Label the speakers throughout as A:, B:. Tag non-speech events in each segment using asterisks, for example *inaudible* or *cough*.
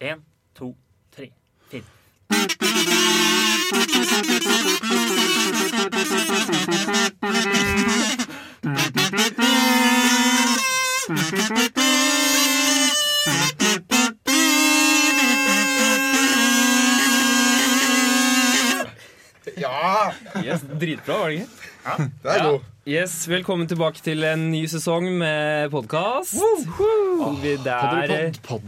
A: En, to, tre, fire.
B: Ja!
C: Yes, Dritbra, var det ikke?
B: Det er god.
C: Yes, Velkommen tilbake til en ny sesong med podkast. Der
D: Pod.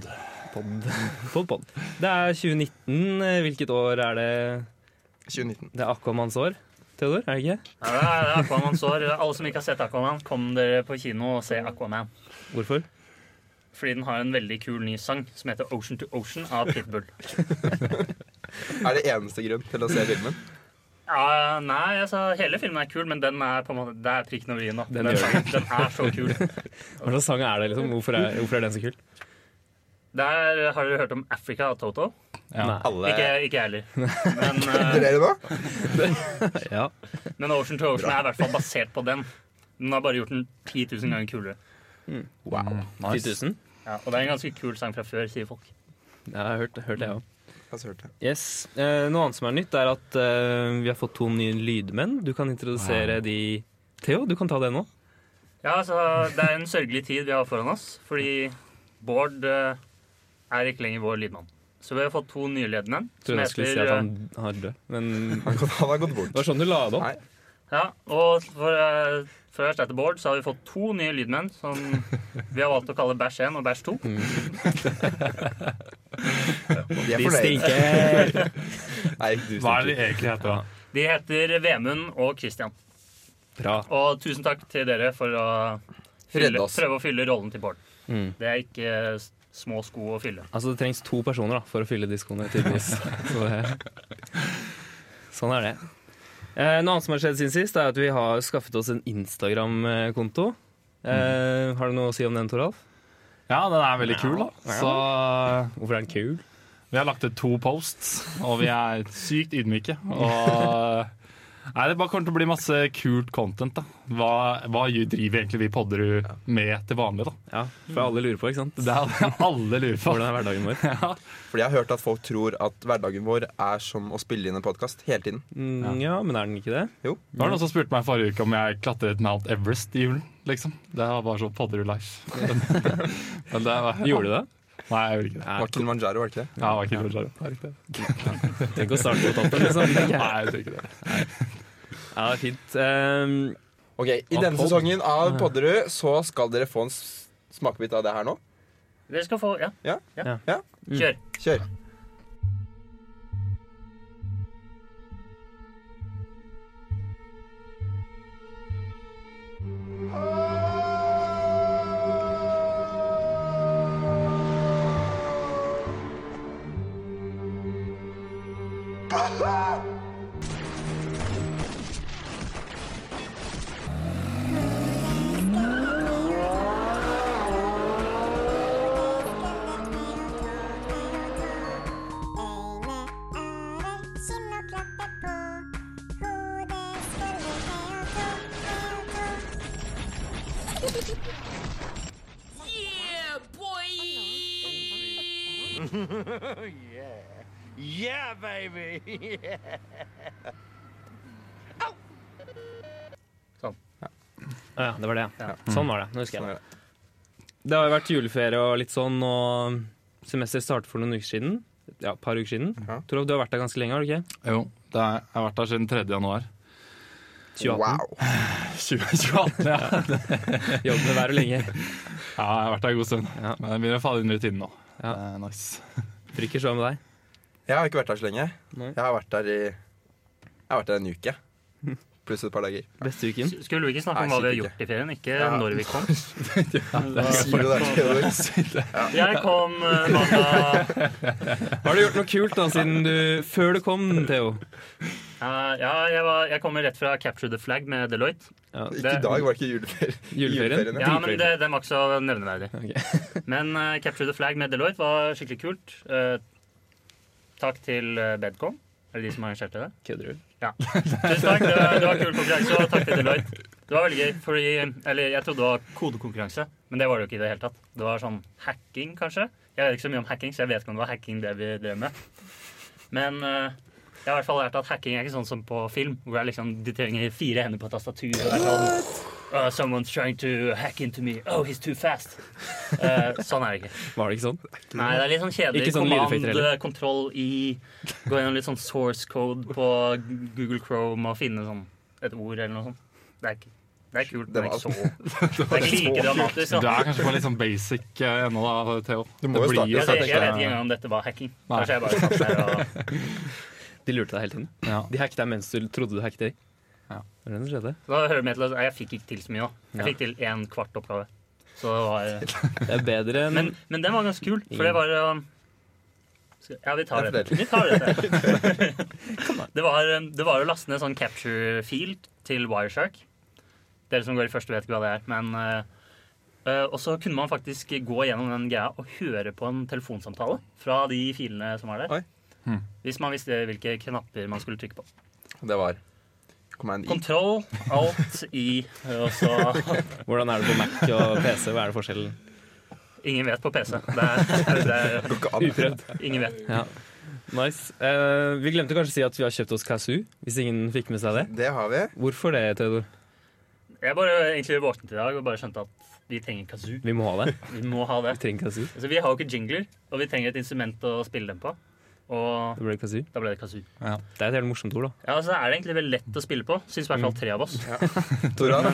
C: pod, pod. Det er 2019. eh, Hvilket år er det?
B: 2019.
C: Det er Aquamans år, Theodor? er det ikke?
A: Ja, det er det er Aquaman sår. Alle som ikke har sett Aquaman, kom dere på kino og se Aquaman.
C: Hvorfor?
A: Fordi den har en veldig kul ny sang som heter Ocean to Ocean av Pitbull.
B: Er det eneste grunn til å se filmen?
A: Ja, nei, altså, hele filmen er kul, men den er på en måte, det er prikken over i-en. da.
C: Den
A: Den,
C: gjør
A: sangen- den er så kul.
C: Hva slags sang er det? liksom? Hvorfor er, hvorfor er den så kul?
A: Der har dere hørt om Africa av Toto.
C: Ja.
B: Alle
A: Ikke, ikke jeg
C: *laughs*
A: heller. Men, eh,
B: Dere nå?
C: ja.
A: men Ocean to Ocean er i hvert fall basert på den. Den har bare gjort den 10 000 ganger kulere.
B: Wow.
D: Mm.
C: 10 000?
A: Ja, og det er en ganske kul sang fra før, sier folk.
C: Ja, jeg har hørt, hørt det, jeg òg.
B: Altså, hørte jeg.
C: Yes. Eh, noe annet som er nytt, er at eh, vi har fått to nye lydmenn. Du kan introdusere de Theo, du kan ta det nå.
A: Ja, altså, det er en sørgelig tid vi har foran oss, fordi Bård eh, er ikke lenger vår lydmann. Så vi har fått to nye lydmenn. som
C: Tror jeg skulle si
A: heter, eh,
C: at han har død, men
B: Han, kan- *laughs* han har gått
C: det
B: bort.
C: var sånn du la det
B: Nei.
C: opp.
A: eh, Ja, og for, eh, for å erstatte Bård, så har vi fått to nye lydmenn som vi har valgt å kalle Bæsj 1 og Bæsj 2.
B: De er
C: De
B: fornøyd.
C: stinker!
B: Nei, du
D: Hva
B: stinker.
D: er det de egentlig heter, da?
A: De heter Vemund og Christian.
C: Bra.
A: Og tusen takk til dere for å fylle,
B: Redde oss.
A: prøve å fylle rollen til Bård.
C: Mm.
A: Det er ikke eh, s- små sko å fylle.
C: Altså, det trengs to personer da, for å fylle diskoene, *laughs* tydeligvis. Så det, sånn er det. Eh, noe annet som har skjedd siden sist, er at vi har skaffet oss en Instagram-konto. Eh, har du noe å si om den, Toralf?
D: Ja, den er veldig kul, da. Så
C: Hvorfor er den kul?
D: vi har lagt ut to posts, og vi er sykt ydmyke. Og *laughs* Nei, Det bare kommer til å bli masse kult content. da. Hva, hva driver egentlig vi podderud med til vanlig? da?
C: Ja, for alle lurer på, ikke sant?
D: Det er det alle lurer *laughs* på.
C: Hvordan er hverdagen *laughs* vår?
D: Ja.
B: Fordi jeg har hørt at folk tror at hverdagen vår er som å spille inn en podkast hele tiden.
C: Mm, ja, men er den ikke det?
D: Det var noen som spurte meg forrige uke om jeg klatret Mount Everest i julen. liksom. Det var bare sånn podderud life. *laughs* Men, men det var,
C: Gjorde du det?
D: Nei, jeg gjorde ikke det.
B: Var Kilimanjaro, var det ikke det?
D: Ja, det var ikke George Arrow. Det er riktig.
C: Tenk å starte på toppen, liksom. *laughs*
D: Nei, jeg tror ikke det.
C: Ja, det er fint. Ehm,
B: Ok, I denne
C: pod.
B: sesongen av Podderud så skal dere få en s- smakebit av det her nå.
A: Dere skal få Ja.
B: Ja.
A: ja.
B: Ja.
A: Kjør.
B: Kjør.
E: Øyne er ei skinn og klappe på. Hodet skal vi se og tro, se og tro.
C: ja, det var det, ja.
A: Ja.
C: Sånn var det. Nå husker jeg.
B: Sånn
C: det.
B: er det.
C: Det har jo vært juleferie og litt sånn, og semester startet for noen uker siden. Ja, et par uker siden.
B: Ja.
C: Toralf, du har vært der ganske lenge, har du ikke?
D: Jo, det er, jeg har vært der siden 3. januar.
C: 2018.
B: Wow.
D: 2018, ja.
C: Jobb med været lenge.
D: ja, jeg har vært der en god stund.
C: Ja.
D: Men jeg begynner å falle inn i rutinen nå.
C: Ja.
D: Det er nice.
C: Trykker så med deg.
B: Jeg har ikke vært der så lenge.
C: Nei.
B: Jeg har vært der i Jeg har vært der en uke. Pluss et par dager.
C: Beste uken.
A: Skulle vi ikke snakke om
B: Nei,
A: hva vi har
B: sikkert
A: gjort i ferien? Ikke
B: Ja.
A: når vi kom.
B: Sier du det, Theodor?
A: Jeg kom eh, mandag
C: Har du gjort noe kult da, siden du, før du kom, Theo?
A: Eh, Ja, jeg, var, jeg kommer rett fra Capture the Flag med Deloitte.
C: Ja,
B: Ikke i dag, var det ikke juleferie.
C: juleferien?
A: Ja, men det, Den var ikke så nevneverdig.
C: Ok.
A: Men eh, Capture the Flag med Deloitte var skikkelig kult. Eh, takk til eh, Bedcom. Er det de som arrangerte det?
C: Kødder du?
A: Tusen takk, det var, det var kul konkurranse, og takk til Deloitte. Det var veldig gøy, fordi Eller jeg trodde det var kodekonkurranse, men det var det jo ikke i det hele tatt. Det var sånn hacking, kanskje. Jeg vet ikke så mye om hacking, så jeg vet ikke om det var hacking det vi drev med. Men eh, jeg har i hvert fall lært at hacking er ikke sånn som på film, hvor det er liksom, de trenger fire hender på tastaturet. og det er Sånn, «Uh, someone's trying to hack into me. Oh, he's too fast. Eh, sånn er det ikke.
C: Var det ikke sånn?
A: Nei, det er litt sånn kjedelig.
C: Ikke sånn lydeffekter
A: Command,
C: heller.
A: kontroll, I. Gå gjennom litt sånn source code på Google Chrome og finne sånn et ord eller noe sånt. Det er, ikke, det er kult,
B: Det
A: men
B: var-
A: ikke så Det er ikke like dramatisk. altså.
D: Du
A: Da.
D: er kanskje på litt sånn basic eh, ennå, da, Theo.
B: Du må jo
D: Det blir
B: starte,
A: Jeg,
B: starte
A: vet- jeg vet ikke engang om dette var hacking.
D: Nei.
A: Kanskje jeg bare satt der og
C: De lurte deg hele tiden.
D: Ja.
C: De hacket deg mens du trodde du hacket deg.
D: Ja.
C: Det er det som skjedde.
A: Så Da hører du med til at jeg fikk ikke til så mye. da. Jeg fikk til en kvart oppgave. Så det var,
C: Det er bedre enn
A: men, men den var ganske kul, for det var um, skal- Ja, vi tar
B: Jeg
A: dette.
B: forteller.
A: Vi tar dette.
B: *laughs*
A: Det var, um, det var å laste ned sånn capture field til Wireshark. Dere som går i første, vet ikke hva det er. Men uh, uh, Og så kunne man faktisk gå gjennom den greia og høre på en telefonsamtale fra de filene som var der.
B: Oi.
D: Hmm.
A: Hvis man visste hvilke knapper man skulle trykke på.
B: Det var Kom igjen, I.
A: Kontroll, alt, i, og så
C: Hvordan er det på Mac og PC? Hva er det forskjellen?
A: Ingen vet på PC. Det er, det er,
B: Går ikke an.
C: Uprøvd.
A: ingen vet.
C: Ja. Nice. Eh, vi glemte kanskje å si at vi har kjøpt oss Kazoo, hvis ingen fikk med seg det.
B: Det har vi.
C: Hvorfor det, Theodor?
A: Jeg bare egentlig våknet i dag og bare skjønte at vi trenger kazoo.
C: Vi må ha det.
A: Vi må ha det.
C: Vi trenger Kazoo.
A: Altså, vi har jo ikke jingler, og vi trenger et instrument å spille dem på. Og
C: Det ble Kazoo.
A: da ble det kazoo.
C: Det er et helt morsomt ord, da.
A: Ja, altså er det egentlig veldig lett å spille på, syns i hvert fall tre av oss.
B: Tora, da?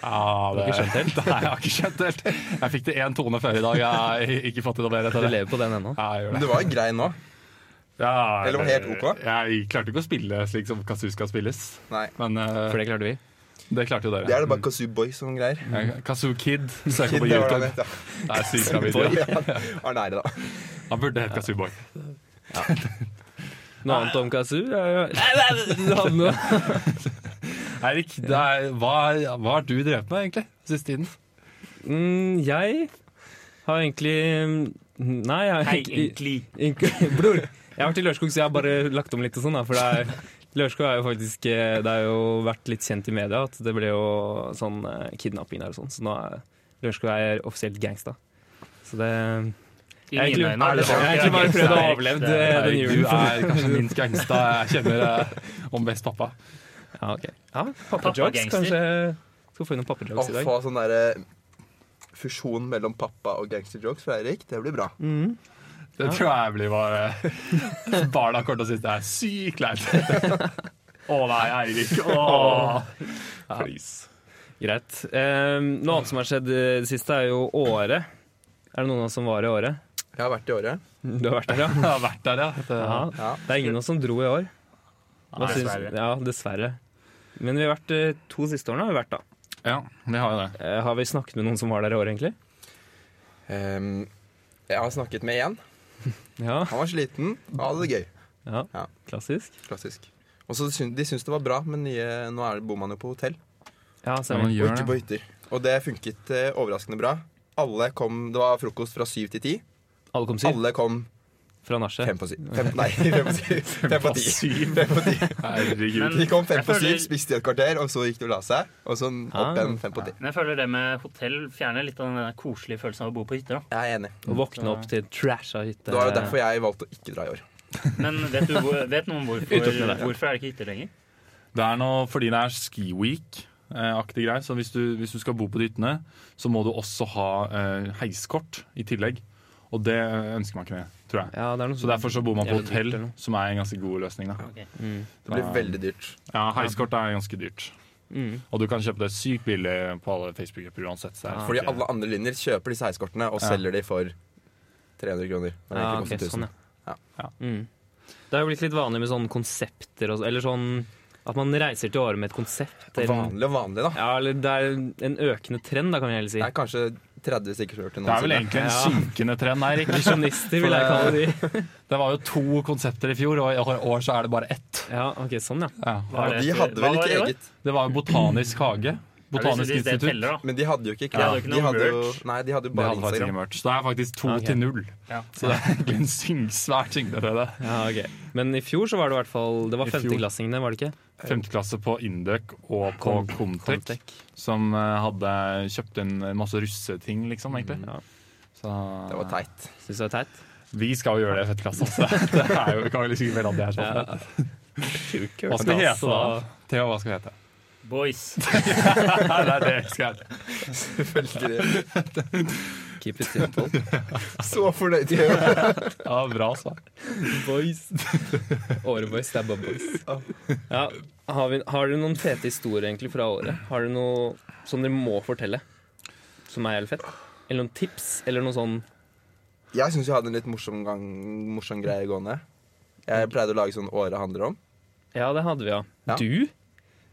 D: Ja, det,
C: Du har ikke skjønt helt?
D: *laughs* Nei, jeg har ikke skjønt helt. Jeg fikk det én tone før i dag. Jeg har ikke fått det noe mer
C: Du
D: etter det.
C: lever på den ennå.
D: Ja, jeg gjør
B: Men
D: det.
B: du var jo grei nå.
D: Ja,
B: Eller var helt ok?
D: Jeg klarte ikke å spille slik som Kazoo skal spilles,
B: Nei.
D: men eh,
C: For det klarte vi.
D: det klarte jo dere.
B: Det er det bare Kazoo Boy som greier.
D: Ja, Kazoo Kid søker
B: Kid,
D: på
B: det var
D: YouTube.
B: det han het,
D: Det er sykt bra video.
B: ja. Arne Eide, da.
D: Han burde hett Kazoo Boy.
C: Noe annet om Kazoo? Ja, ja. *laughs* Nei, nei, Du hadde noe.
D: Eirik, det er, hva, hva har du drevet med egentlig siste tiden?
C: Mm, jeg har egentlig Nei, jeg har
A: Hei,
C: egentlig
A: egentlig.
C: Ink- Bror, jeg har vært i Lørenskog, så jeg har bare lagt om litt og sånn. da, For det er, Lørenskog er jo faktisk eh, Det har jo vært litt kjent i media at det ble jo sånn eh, kidnapping der og sånn. Så nå er Lørenskog er offisielt gangsta. Så det
A: I
C: Jeg har egentlig-
A: mine øyne. er det
C: Jeg har egentlig bare prøvd å eh, overleve det,
A: Det-
C: den
D: Eirik, du
C: julen.
D: er kanskje minst gangsta jeg kjenner eh, om best pappa.
C: Ja, ok. Ja, Pappajokes,
A: Pappagangster.
C: kanskje. Skal få inn noen
B: Å
C: pappajokes i dag.
B: få sånn derre fusjon mellom pappa og gangsterjokes fra Eirik, det blir bra.
D: Det tror jeg blir bare *laughs* Barna kommer til å synes det er sykt leit. Å nei, Eirik. Å. Please.
C: Greit. Eh, noe annet som har skjedd eh, det siste, er jo Åre. Er det noen av oss som var i Åre?
B: Jeg har vært i året.
C: Du har vært der, ja?
D: Jeg har vært der, ja. Det,
C: ja.
B: Ja.
C: Det er ingen av oss som dro i år. Hva
A: Nei,
C: syns-
A: dessverre.
C: Ja, dessverre. Men vi har vært eh, to siste årene. har vi vært da.
D: ja, vi har jo det.
C: Eh, Har vi snakket med noen som var der i år, egentlig?
B: Ehm, jeg har snakket med én.
C: Ja,
B: Han var sliten og hadde det gøy.
C: ja.
B: Ja.
C: klassisk.
B: Klassisk. Og så syn- De syntes det var bra, men nye, nå er, bor man jo på hotell
C: Ja,
D: Ja, men
C: stemmer.
B: og
D: gjør
B: ikke
D: det.
B: på hytter. Og det funket eh, overraskende bra. Alle kom, Det var frokost fra syv til ti.
C: Alle kom syv
B: Alle kom
C: fra nachet.
B: fem på syv. Fem, nei, *laughs* fem på syv. Fem på ti.
D: Syv.
B: Fem på ti.
D: Herregud.
B: De kom fem
A: Mm. Jeg
B: på
A: føler-
B: syv, spiste i et kvarter, og så gikk de og la seg. Og så opp igjen fem på ti.
A: Men jeg føler det med hotell fjerner litt av den der koselige følelsen av å bo på hytter. da.
B: Ah. Jeg er enig.
C: Og våkne opp til trasha hytte.
B: Det var jo derfor jeg valgte å ikke dra i år.
A: Men vet, du, hvor- vet noen hvorfor,
C: Utenom det.
A: hvorfor er det ikke hytter lenger?
D: Det er noe fordi det er ski week-aktig greier. Så hvis du, hvis du skal bo på de hyttene, så må du også ha eh, heiskort i tillegg. Og det ønsker man ikke med, tror jeg.
C: Ja, det er noe sånn.
D: Så derfor så bor man på
C: Jævlig dyrt,
D: hotell,
C: eller noe.
D: som er en ganske god løsning. Da.
C: Mm.
B: Det blir veldig dyrt.
D: Ja, Heiskort er ganske dyrt.
C: Mm.
D: Og du kan kjøpe det sykt billig på alle Facebook-grupper uansett. Så det er
B: Fordi
D: ikke-
B: alle andre linjer kjøper disse heiskortene og
D: Ah, Ja.
B: selger de for 300 kroner. Når det
C: Ja,
B: egentlig
C: ok,
B: koster 1000.
C: sånn, ja.
B: Ja.
D: Ja.
C: Mm. Det har jo blitt litt vanlig med sånne konsepter og så- Eller sånn at man reiser til Åre med et konsept. Eller,
B: Vanlig og vanlig, da.
C: ja, eller det er en økende trend, da, kan vi heller si.
B: Det er kanskje 30 stykker som har gjort det
D: Det er vel
B: noensinne.
D: egentlig en
C: Ja.
D: synkende trend. Nei, Erik.
C: Visjonister, vil jeg kalle de.
D: Det var jo to konsepter i fjor, og i år- år så er det bare ett.
C: Ja, ok, sånn, ja.
D: Ja.
A: Hva er
B: Og
A: det
B: de
A: etter-
B: hadde
A: hva
B: vel
A: var det i
B: ikke
A: år?
B: eget
D: Det var jo Botanisk hage.
A: Ja, hvis-
D: Botanisk
A: hvis det
D: institutt.
A: teller, da.
B: Men de hadde jo ikke
A: hadde jo ikke noe
B: jo,
A: merch.
B: Nei, de hadde jo
D: Det
B: bare
D: hadde faktisk ikke
B: Instagram.
D: merch. Så det er faktisk to
C: Ja, ok.
D: til null.
A: Ja.
D: Så det er egentlig en syng, svært tyngdetrede.
C: ja ok. Men i fjor så var det i hvert fall Det var
D: I fjor.
C: femteklassingene, var det ikke?
D: femteklasse på Indøk og på Comtec, som eh, hadde kjøpt inn masse russeting, liksom, egentlig.
C: Ja.
D: Så
B: Det var teit.
C: Syns du det er teit?
D: vi skal jo gjøre det i femteklasse, altså. *laughs* Det er jo, vi kan vel ikke melde at det er sånn. Hva skal vi hete da?
C: altså-
D: Theo, hva skal vi hete?
A: Boys.
D: Nei, det er det vi skal hete.
B: Selvfølgelig.
C: Keep it simple.
B: *laughs* Så fornøyd. Theo.
D: Ja, bra svar.
C: Boys. Åreboys, det er bare boys. Ja, har, vi, har dere noen fete historier egentlig fra året? Har dere noe som dere må fortelle? Som er helt fett? Eller noen tips? Eller noe sånn
B: Jeg syns jeg hadde en litt morsom, gang, morsom greie gående. Jeg pleide å lage sånn året handler om.
C: Ja, det hadde vi, ja.
B: Ja.
C: Du?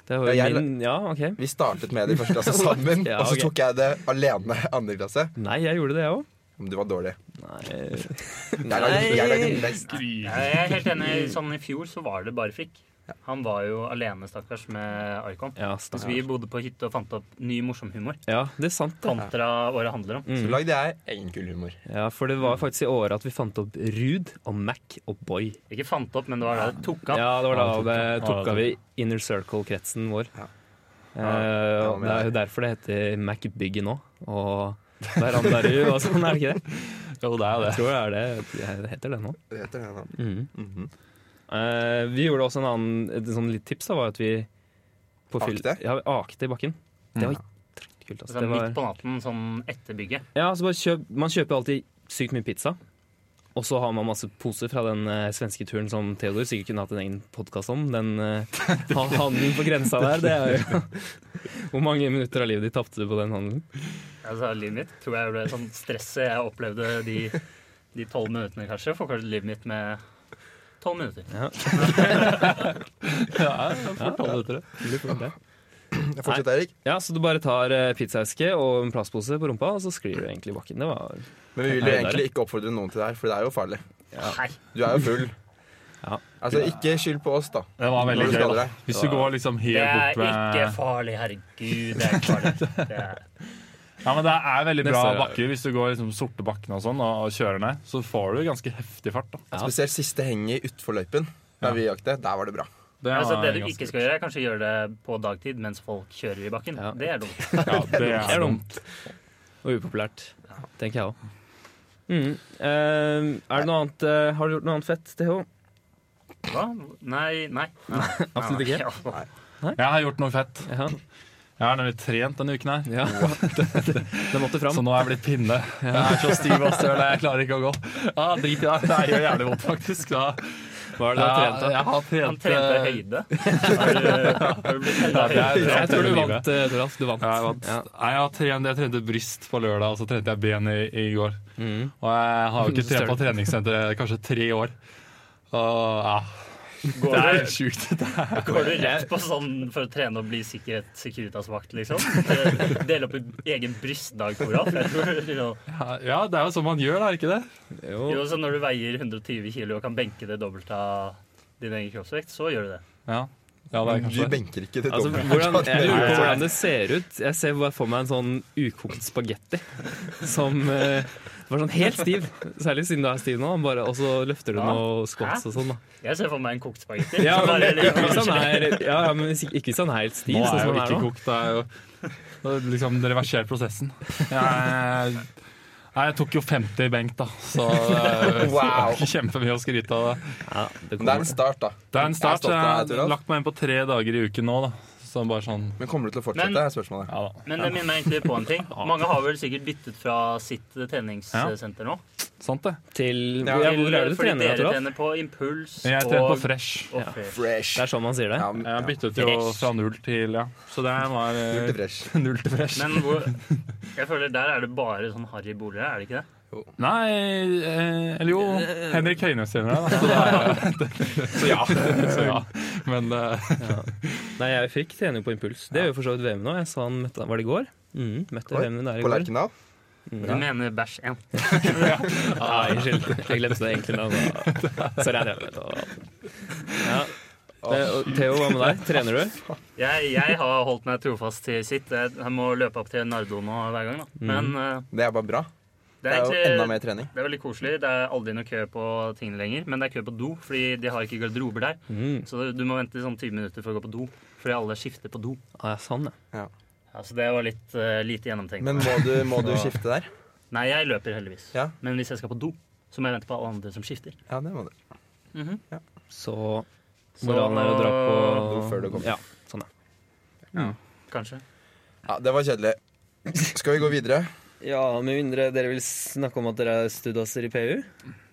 C: Det var jo
B: Ja, jeg-
C: min Ja, OK.
B: Vi startet med det i første klasse sammen,
C: *laughs* Ja,
B: og så
C: ok.
B: tok jeg det alene i andre klasse.
C: Nei, jeg gjorde det, jeg òg.
B: Men du var dårlig.
C: Nei.
B: Jeg lagde, jeg lagde den best.
A: Jeg er helt
C: *laughs*
A: enig. Sånn I fjor så var det bare Frikk. Han var jo alene, stakkars, med Icon.
C: Ja,
A: Mens vi bodde på hytte og fant opp ny morsom humor.
C: ja, det er sant, det. Mm.
A: Kontra året handler om.
B: Så lagde jeg egen kul humor.
C: Ja, for det var faktisk i året at vi fant opp Ruud og Mac og Boy.
A: Ikke fant opp, men det var da det tok av.
C: Ja, det var da
D: Ja, det tok
C: det
D: av. Ja, det
C: tok av
D: tok
C: i inner circle-kretsen vår.
B: Ja.
C: Eh,
B: det var
C: og
B: med
C: det er jo derfor det heter Mac Biggie nå, og Verandarud og sånn, er det ikke det?
D: Jo, det er jo det.
C: Jeg tror det Mm. er det. Det heter det nå.
B: Det heter det nå. Mhm.
C: Eh, vi gjorde også en annen et sånn litt tips, da, var at vi på fyll-
B: Akte?
C: Ja, vi akte i bakken. Det var
B: Ja.
C: dritkult. Altså.
A: Så
C: Det var,
A: Midt på natten, sånn etter bygget.
C: Ja, så bare kjøp, man kjøper jo alltid sykt mye pizza. Og så har man masse poser fra den eh, svenske turen som Theodor sikkert kunne hatt en egen podkast om. Den eh, han- handelen på grensa der, det er jo *laughs* Hvor mange minutter av livet ditt tapte du på den handelen?
A: Altså, livet mitt tror jeg ble sånn stresset jeg opplevde de, de tolv minuttene, kanskje. Forkortet livet mitt med tolv minutter.
D: *laughs* Ja, fortell det til det.
B: Jeg Fortsett, Erik.
C: Ja, så du bare tar eh, pizzaeske og en plastpose på rumpa, og så sklir du egentlig i bakken. Det var
B: Men vi vil
C: Nei,
B: jo
C: det er
B: egentlig ikke oppfordre noen til det her, for det er jo farlig.
A: Hei.
B: Du er jo full.
C: *laughs* Ja.
B: Altså, ikke skyld på oss, da.
D: Det var veldig
B: Når du
D: gøy.
B: skader
D: da.
B: deg.
D: Hvis du går liksom
A: Det
D: helt
A: er
D: bort
A: ikke
D: med
A: farlig, herregud. Det er ikke farlig.
C: *laughs*
A: Det er,
D: Ja, men Det er veldig bra
C: Neste er-
D: bakker. Hvis du går liksom sorte bakkene og sånn og og kjører ned, så får du ganske heftig fart. da.
C: Ja.
B: Spesielt siste henget utfor løypen. Der vi jakte, der var det bra.
A: altså, det du
D: ganske-
A: ikke skal gjøre, er kanskje gjøre det på dagtid mens folk kjører i bakken.
C: Ja.
A: Det er dumt.
D: Ja, det
C: Det
D: er
C: er
D: dumt.
C: Og upopulært, tenker jeg òg. Mm. Eh, er det noe annet, eh, har du gjort noe annet fett, TH?
A: Hva? Nei, nei. nei.
C: Absolutt ikke.
A: Ja.
D: Jeg har gjort noe fett.
C: Ja.
D: Jeg har nemlig trent denne uken her.
C: ja. det, det, det måtte fram.
D: Så nå er jeg blitt pinne. Jeg er så stiv og støl, jeg klarer ikke å gå. Ja, drit i det. *laughs* Det gjør jævlig vondt, faktisk. Da.
C: Hva er det du har trent, da?
D: Jeg, jeg har
A: Han
D: trent
A: trente
D: eh,
A: høyde. Har
D: *laughs*
A: du, har du blitt hella
D: Ja, det er-
A: høyde?
D: det er-
C: Jeg tror du
D: hele livet.
C: vant, eh, Toralf. Du vant.
D: Ja, jeg vant.
C: Ja.
D: Nei, jeg, har trent, jeg trente bryst på lørdag, og så trente jeg ben i, i går.
C: Mm.
D: Og jeg har jo ikke
C: Så
D: trent på
C: støl.
D: treningssenteret i kanskje tre år. Og, ja, det
A: Går
D: er
A: du,
D: sjukt. Det er-
A: går du rett på sånn for å trene og bli sikkerhet, Securitas-vakt, liksom? Eh, Dele opp en egen brystdag for alt? Jeg tror, liksom.
D: *laughs* Ja, det er jo sånn man gjør, er det ikke det?
C: Jo.
A: Jo, så når du veier 120 kilo og kan benke det dobbelte av din egen kroppsvekt, så gjør du det.
D: Ja, ja det er
B: Du
D: kanskje det.
B: benker ikke *laughs* det
C: Altså,
B: dobbelt.
C: hvordan, jeg lurer på
D: Nei.
C: hvordan det ser ut. Jeg ser bare for meg en sånn ukokt spagetti som eh, var sånn helt stiv. Særlig siden du er stiv nå. Bare, og så løfter du
A: Ja.
C: noe squats
A: Hæ?
C: og sånn. da.
A: Jeg ser for meg en kokt spagetti.
C: Ja,
A: som
C: men,
A: bare liksom-
C: ikke sånn,
A: ligger-
C: hvis han er, ja, ja, men hvis ikke- ikke hvis han er helt stiv,
D: Nå
C: sånn
D: er jeg
C: som
D: jo
C: han
D: ikke
C: er nå.
D: kokt. Det er jo det er liksom det reverserer prosessen. Jeg, nei, jeg tok jo 50 i benk, da, så det er jo
B: Wow.
D: *laughs* kjempemye å skryte av. det.
C: Ja, det
B: Det er en
C: kommer.
B: start, da.
D: Det er en
B: Jeg er
D: start.
B: stolt
D: Jeg
B: av deg,
D: har
B: Toralf.
D: lagt meg inn på tre dager i uken nå, da. Så bare sånn
B: Men kommer du til å fortsette?
A: Men-
B: er spørsmålet.
D: Ja da.
A: Men det minner meg egentlig på en ting. Mange har vel sikkert byttet fra sitt treningssenter nå.
D: Sant, det.
C: Til, ja,
B: Ja,
C: hvor er det du
A: eh, Fordi
C: trener, da,
A: dere
C: Toralf?
A: trener på impuls
D: Jeg
A: og,
D: trente på fresh.
A: og fresh.
B: Fresh.
C: Det er sånn man sier det.
B: Ja, men-
D: Jeg
B: ja.
D: byttet jo fra null til ja. Så det
B: Null
D: var
B: til
D: eh,
B: fresh.
D: null til fresh.
A: Men hvor,
D: *laughs*
A: jeg føler der er det bare sånn harry boliger, er det ikke det?
D: Nei eh, Eller jo, Henrik Høines sine, da. Så, det er, så ja. Så ja. Men eh,
C: Nei, jeg fikk trening på impuls. Det gjør jo for så vidt VM nå. Jeg sa han møtte Var det i går? Mm, møtte
B: Oi,
C: VM der i
B: På
C: går. Mm.
B: Lerkendal?
A: Du mener bæsj 1.
C: Nei, unnskyld. Jeg glemte det egentlig navnet. Sorry, jeg drev med det. Ja. Det, og Theo, hva med deg? Trener du?
A: Jeg, jeg har holdt
C: Mhm.
A: meg trofast til sitt. Jeg, jeg må løpe opp til Nardo nå hver gang, da. Men eh,
B: Det er bare bra.
A: Det er,
B: Det er jo enda
A: egentlig,
B: mer trening.
A: det er veldig koselig. Det er aldri noe kø på tingene lenger. Men det er kø på do, fordi de har ikke garderober der.
C: Mm.
A: Så du må vente i sånn 20 minutter for å gå på do, fordi alle skifter på do.
C: Ah, ja, sånn, ja.
A: Ja, så det var litt eh, lite gjennomtenkt.
B: Men må du, må du skifte der?
A: Nei, jeg løper heldigvis.
B: Ja.
A: Men hvis jeg skal på do, så må jeg vente på alle andre som skifter.
B: Ja, det må du.
C: Så
A: Så-
C: moralen er å dra på
B: Før du kommer.
C: Ja, sånn, ja.
A: Kanskje.
B: Ja, Det var kjedelig. Skal vi gå videre?
C: Ja, med mindre dere vil snakke om at dere er studasser i PU?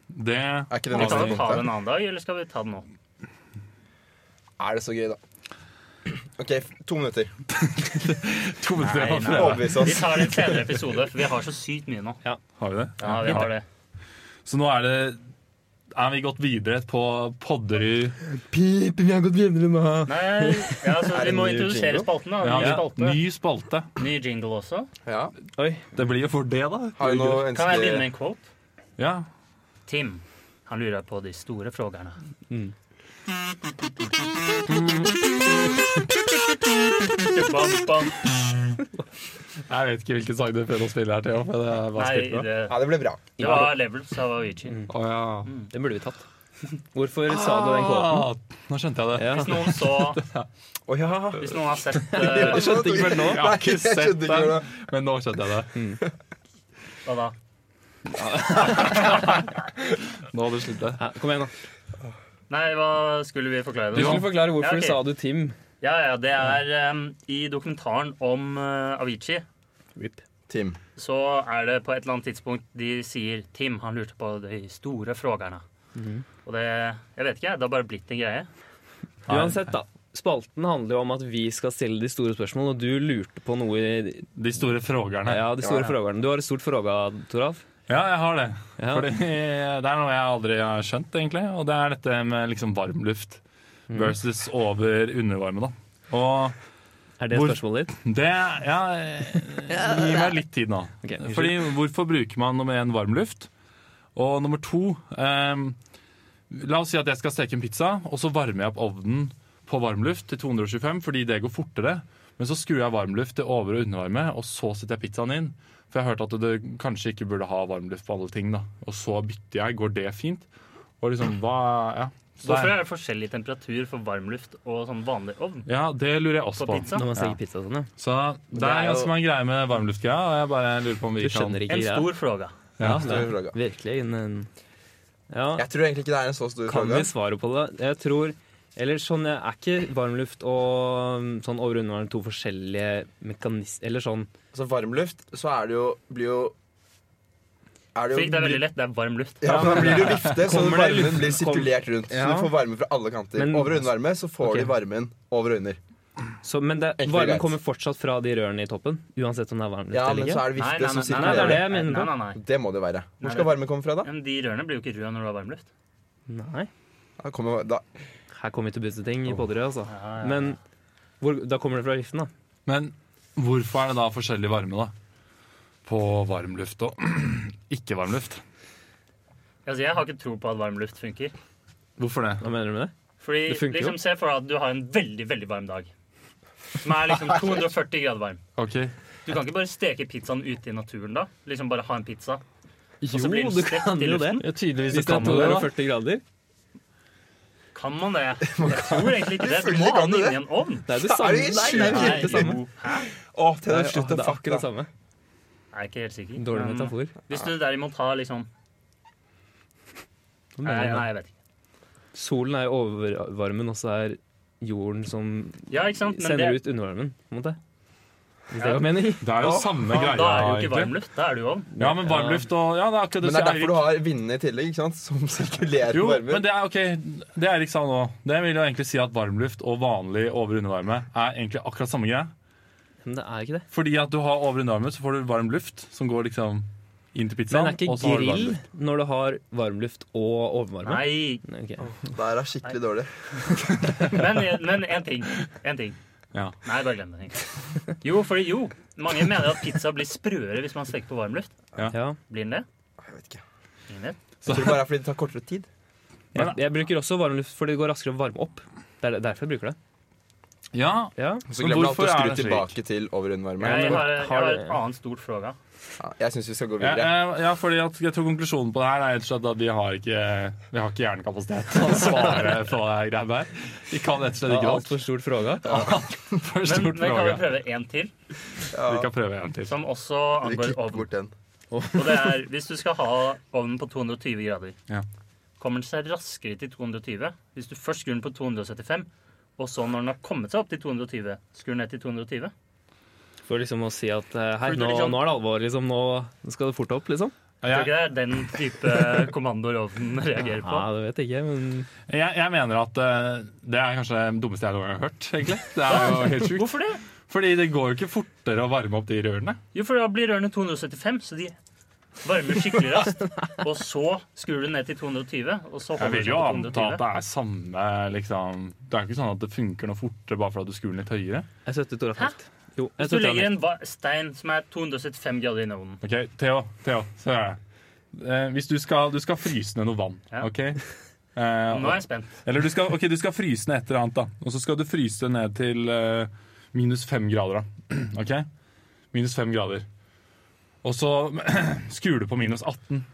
D: Det
B: Er ikke
A: Skal
B: det neste
A: vi ta det
B: punktet?
A: en annen dag, eller skal vi ta det nå?
B: Er det så gøy, da? OK, f- to minutter.
D: *laughs* to minutter
A: Nei,
D: igjen.
A: nei.
B: Overbevis
A: Vi
B: oss.
A: tar det i en senere episode, for vi har så sykt mye nå.
D: Har vi det?
A: Ja, vi har det.
D: Så nå er det Er vi gått videre på Podderud
B: Pip, vi har gått videre nå.
A: Nei, ja, altså, vi
B: Er det
A: må
B: ny
A: introdusere
B: jingle?
A: spalten. da.
D: Ja,
A: Ny spalte.
D: Ny spalte.
A: Ny jingle også.
B: Ja.
C: Oi.
D: Det blir jo for det, da.
B: Har vi noe
A: Kan jeg begynne med
B: ønske
A: en quote?
D: Ja.
A: Tim, han lurer på de store frågerne.
C: Mm.
A: Bam, bam.
D: Jeg vet ikke hvilken sang du prøvde å spille her til. men det er bare
A: Nei,
D: spilt med.
A: det,
B: Ja, det ble bra.
A: det var Levels av Avicii.
D: Å, ja.
C: Den burde vi tatt. Hvorfor sa du den kåten?
D: Ah, nå skjønte jeg det.
C: Ja.
A: Hvis noen så
B: Å ja.
A: Hvis noen har sett eh,
D: Jeg skjønte ikke før nå. Jeg har
B: Nei,
D: ikke
B: jeg
D: sett
B: skjønte ikke
D: den, men nå skjønte jeg det.
A: Hva da?
D: Nå hadde du sluttet.
C: Ja, kom igjen, da.
A: Nei, hva skulle vi forklare
C: Du
A: det nå?
C: skulle forklare hvorfor
A: Ja, ok.
C: sa du Tim.
A: Ja, ja, det er em, I dokumentaren om eh, Avicii
C: Rip.
B: Tim.
A: så er det på et eller annet tidspunkt de sier Tim, han lurte på de store frågerne. Og det Jeg vet ikke, jeg. Det har bare blitt en greie.
C: Uansett, da. Spalten handler jo om at vi skal stille de store spørsmålene, og du lurte på noe i
D: De store frågerne.
C: Ja, de store
B: Ja.
C: frågerne. Du har et stort fråga, Toralf.
D: Ja, jeg har det.
C: Ja.
D: Fordi *laughs* det er noe jeg aldri har skjønt, egentlig. Og det er dette med liksom varmluft versus over undervarme, da. Og
C: Er det
D: Hvor-
C: spørsmålet ditt?
D: det
C: *laughs*
D: Ja, gi meg litt tid nå.
C: Ok, unnskyld.
D: Fordi hvorfor bruker man nummer én varmluft? Og nummer to ehm, La oss si at jeg skal steke en pizza, og så varmer jeg opp ovnen på varmluft til 225 fordi det går fortere. Men så skrur jeg varmluft til over- og undervarme, og så setter jeg pizzaen inn. For jeg hørte at du kanskje ikke burde ha varmluft på alle ting, da. Og så bytter jeg. Går det fint? Og liksom, hva Ja. Så
A: Hvorfor
D: det er-
A: er det forskjellig temperatur for varmluft og sånn vanlig ovn
D: ja, det lurer jeg
A: på
D: også på.
A: pizza?
C: Når man steker
D: Ja.
C: pizza og sånn, ja.
D: Så det
B: Det
D: er
B: er jo-
D: ganske mange greier med varmluftgreia, og jeg bare lurer på om vi
C: Du
D: kan
C: skjønner ikke
A: En
C: greia.
A: stor fråga.
C: Ja,
B: Stor
C: det er
B: fråga.
C: virkelig en, en Ja,
B: Jeg tror egentlig ikke det er en så stor
C: kan
B: fråga.
C: vi svare på det? Jeg tror eller sånn, jeg Er ikke varmluft og um, sånn over og undervarme to forskjellige mekanismer Eller sånn
B: Altså varmluft, så er det jo Blir jo er det jo-
A: Fikk det er veldig lett. Det er varm luft.
B: Ja, men da blir det jo vifte, så
C: Kommer det
B: varmen
C: luft-
B: blir sirkulert rundt. Så
C: Ja.
B: du får varme fra alle kanter.
C: Men-
B: over og under varme, så får
C: Ok.
B: du varmen over og under.
C: så, Men det,
B: Egentlig
C: varmen
B: greit.
C: kommer fortsatt fra de rørene i toppen? Uansett om det er varmluft
B: Ja,
C: eller
B: men så
C: ikke?
B: er det vifte som
C: nei, det er
B: sirkulerer.
C: det jeg mener på.
A: Nei, nei, nei.
B: Det må det være.
A: Nei,
B: Hvor skal
A: det-
B: varme komme fra, da?
A: Ja, Men de rørene blir jo ikke røde når du har varmluft.
C: Nei.
B: Da kommer, da.
C: Her kommer vi til å bytte ting i Podderød, altså.
A: Ja, ja.
C: Men hvor, da kommer det fra giften, da.
D: Men hvorfor er det da forskjellig varme, da? På varmluft og ikke varmluft.
A: Altså, jeg har ikke tro på at varmluft funker.
D: Hvorfor det?
C: Hva mener du med det?
A: Fordi
C: Det funker jo.
A: liksom, Se for deg at du har en veldig veldig varm dag. Som er liksom 240 grader varm.
D: Ok,
A: Du kan ikke bare steke pizzaen ute i naturen da. Liksom bare ha en pizza.
C: Jo,
A: så blir den
C: du
A: stekt
C: kan
A: i
C: jo det.
A: luften.
D: ja,
C: Hvis
D: Tydeligvis så
C: det
D: kan
C: er
D: man det. da.
C: 240 grader.
A: Kan man det? Jeg tror egentlig ikke det. Du må
B: Selvfølgelig
A: ha den
B: kan du
A: inni
B: det.
A: en ovn.
C: Det er jo det
B: Da er
C: samme.
B: det helt
C: Nei, det er jo helt det samme.
A: jo. Hæ?
B: Å,
C: Det
B: til
C: er,
B: slutt
C: det
B: å
C: er
B: fuck,
C: akkurat det
B: da.
C: samme.
A: Jeg er ikke helt sikker.
C: Dårlig
A: Men
C: metafor.
A: Hvis du derimot har liksom
C: Hva
A: Nei,
C: mener du
A: nei,
C: med det?
A: jeg vet ikke.
C: Solen er jo overvarmen, og så er jorden som
A: Ja, ikke sant? *laughs* Men det,
C: sender ut undervarmen. På en måte. Hvis
A: Ja.
C: det er hva mening?
D: Det er jo samme
A: faen, da er det jo
D: greia,
A: ikke
D: egentlig.
A: varmluft. Da er det jo ovn.
D: Ja, men varmluft og Ja, det er akkurat det
B: Men det er derfor du har vindene i tillegg, ikke sant? *laughs* Som sirkulerer
D: jo,
B: varmen.
D: men det er ok, det Erik sa nå, det vil jo egentlig si at varmluft og vanlig over-undervarme er egentlig akkurat samme greie.
C: Men det er ikke det.
D: Fordi at du har over-undervarme, så får du varm luft som går liksom inn til pizzaen.
C: Men det er
D: og
C: ikke
D: så har du varm
C: grill
D: luft.
C: når du har varmluft og overvarme.
A: Nei,
C: Ok.
B: Det er skikkelig dårlig.
A: men, men en ting. En ting.
D: Ja.
A: Nei, bare glem det. egentlig. Jo, fordi jo. Mange mener at pizza blir sprøere hvis man steker på varmluft.
C: Ja.
A: Blir den det?
B: Jeg vet ikke.
A: Ingen vet.
B: Jeg tror det bare er fordi det tar kortere tid.
C: Jeg, jeg bruker også varmluft fordi det går raskere å varme opp. Det er derfor jeg bruker det.
D: ja,
C: Ja.
B: Og så
D: Men
B: glemmer du alltid
D: hvorfor
B: å
D: er
B: skru
D: det slik?
B: tilbake til over og under varme.
A: Jeg har, jeg
C: Har
A: har
C: du-
A: et annet stort fråga.
B: Ja, jeg syns vi skal gå
D: Ja,
B: videre.
D: eh, ja, fordi at jeg tror konklusjonen på det her er rett og slett at vi har ikke, vi har ikke hjernekapasitet til
A: *laughs*
D: å svare på det her greiene der. Vi kan rett og slett ikke alt.
C: Altfor stort fråga.
D: For
A: Men,
D: stort
A: men kan vi
D: program.
A: prøve en til,
D: Vi kan prøve en til.
A: som også
B: Dere
A: angår
B: klipper
A: ovn.
B: bort den.
A: Og det er hvis du skal ha ovnen på 220 grader.
D: Ja.
A: Kommer den seg raskere til 220 hvis du først skrur den på 275, og så når den har kommet seg opp til 220, skrur den ned til 220?
C: For liksom å si at eh, hei,
A: Fordi
C: nå,
A: liksom-
C: nå er det alvor, liksom. Nå nå skal det fort opp, liksom.
A: Tror du
D: Jeg,
A: ikke det er den type
D: *laughs*
A: kommandoer ovnen reagerer på?
C: Ja, det vet jeg ikke, men
D: jeg, jeg mener at eh, det er kanskje det dummeste jeg noen gang har hørt, egentlig. Det er jo helt sjukt.
A: Hvorfor det?
D: Fordi det går jo ikke fortere å varme opp de rørene.
A: Jo, for da blir rørene 275, så de varmer skikkelig raskt. Og så skrur du ned til 220, og så
D: Jeg
A: holder
D: vil
A: du
D: jo
A: på
D: anta
A: 220.
D: at det er samme liksom Det er jo ikke sånn at det funker noe fortere bare fordi du skrur den litt høyere.
C: jeg støtter Tora
A: Hæ?
C: Felt. Jo, jeg
A: Hvis du
C: støtter han
A: legger
C: helt.
A: en va- stein som er 275 grader inn i ovnen
D: Ok, Theo, Theo, så er jeg. Eh, hvis du skal, du skal fryse ned noe vann,
A: Ja. *laughs*
D: OK? Eh,
A: Nå er jeg spent.
D: Eller du skal, ok, du skal fryse ned et eller annet, da. Og så skal du fryse ned til eh, minus fem grader, da. *clears throat* Ok? Minus fem grader. Og så *clears throat* skrur du på minus 18.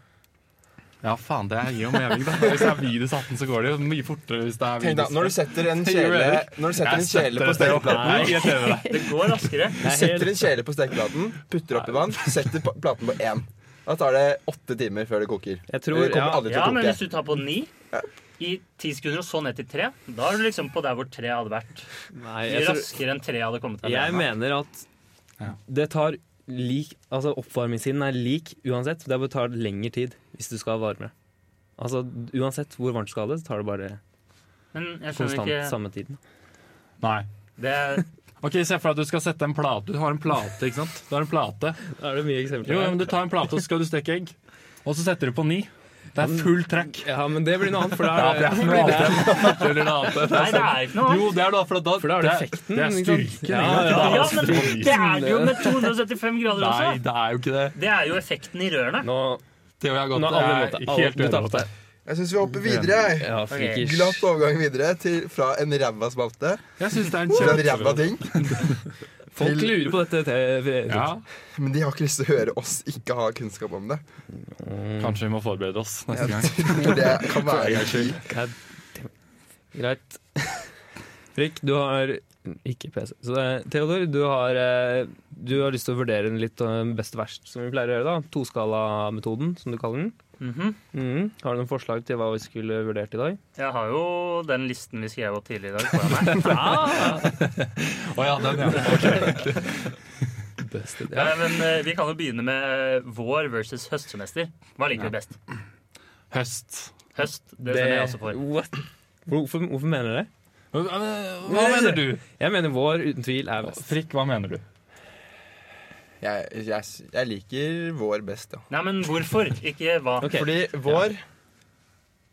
D: Ja, faen, det er jo mening, da. Hvis det er minus 18, så går det jo mye fortere hvis det er
B: Tenk da,
D: minus
B: når du setter
D: *laughs*
B: en kjele, når du setter en kjele på stekeplaten
D: Nei, jeg støtter det.
A: Det går raskere.
B: Du setter en kjele på stekeplaten, putter oppi vann, setter pa- platen på én. Da tar det åtte timer før det koker.
C: Jeg tror-
B: Eller det kommer
C: ja.
B: aldri til
A: Ja, men
B: å
A: hvis
B: koke.
A: du tar på 9 i 10 sekunder og så ned til 3, da er du liksom på der hvor 3 hadde vært.
C: Nei,
A: Mye
C: jeg, tror,
A: raskere enn 3 hadde kommet
C: jeg
A: alene.
C: mener at
D: Ja.
C: det tar lik Altså oppvarmingssiden er lik uansett. Det bare tar lengre tid hvis du skal ha varme. Altså uansett hvor varmt du skal ha det, så tar det bare
A: Men jeg skjønner
C: konstant
A: ikke
C: samme tiden.
D: Nei.
A: det er,
D: Ok, Se for deg at du skal sette en plate. Du har en plate, ikke sant? Du har en plate.
C: Da er det mye eksempler.
D: Jo, ja, men Du tar en plate, og så skal du steke egg. Og så setter du på ni. Det er full
B: *laughs*
D: track.
C: Ja, men det blir noe annet, for
D: Ja,
C: da
D: det er
C: er
D: noe
C: det,
D: annet. Det blir noe annet.
A: Nei, det er ikke noe
D: Jo, det er da, for da,
C: for da er det effekten.
D: Det er
C: ikke sant?
D: styrken.
C: Ja,
D: ikke sant?
C: ja.
A: Ja, men det er det jo med 275 grader
D: Nei,
A: også.
D: det er jo ikke det.
A: Det er jo effekten i rørene.
C: Nå,
D: Theo, jeg har gått
C: nå alle mot
D: jeg
C: deg.
D: er
C: Alle-
D: helt
C: Du
D: uenig mot
C: tapte.
D: deg.
B: Jeg syns vi hopper videre. jeg.
C: Ja, freakers.
B: Glatt overgang videre til, fra en ræva spalte
D: Jeg syns det er en
B: til en ræva
D: kjempe...
B: ting.
C: Folk lurer på dette. te-
D: Ja,
B: Men de har ikke lyst til å høre oss ikke ha kunnskap om det.
D: kanskje vi må forberede oss neste gang.
B: For det kan være
C: God damn. Greit. Rik, du har ikke PC. Så det er, Theodor, du har, eh, du har lyst til å vurdere den litt eh, best verst, som vi pleier å gjøre. da Toskalametoden, som du kaller den.
A: Mhm.
C: Mhm. Har du noen forslag til hva vi skulle vurdert i dag?
A: Jeg har jo den listen vi skrev opp tidligere i dag foran
C: *laughs*
A: meg.
D: Å ja, den, ja.
C: Best, ja.
A: Nei, Men eh, vi kan jo begynne med eh, vår versus høstsemester. Hva liker vi best?
D: Høst.
A: Høst. Det stemmer jeg også for.
C: What? Hvorfor, hvorfor mener du det?
D: Hva hva mener du?
C: Jeg mener vår uten tvil er best.
D: Frikk, hva mener du?
B: jeg, jeg, jeg liker vår best, ja.
A: Nei, men hvorfor? Ikke hva.
C: Ok.
B: Fordi vår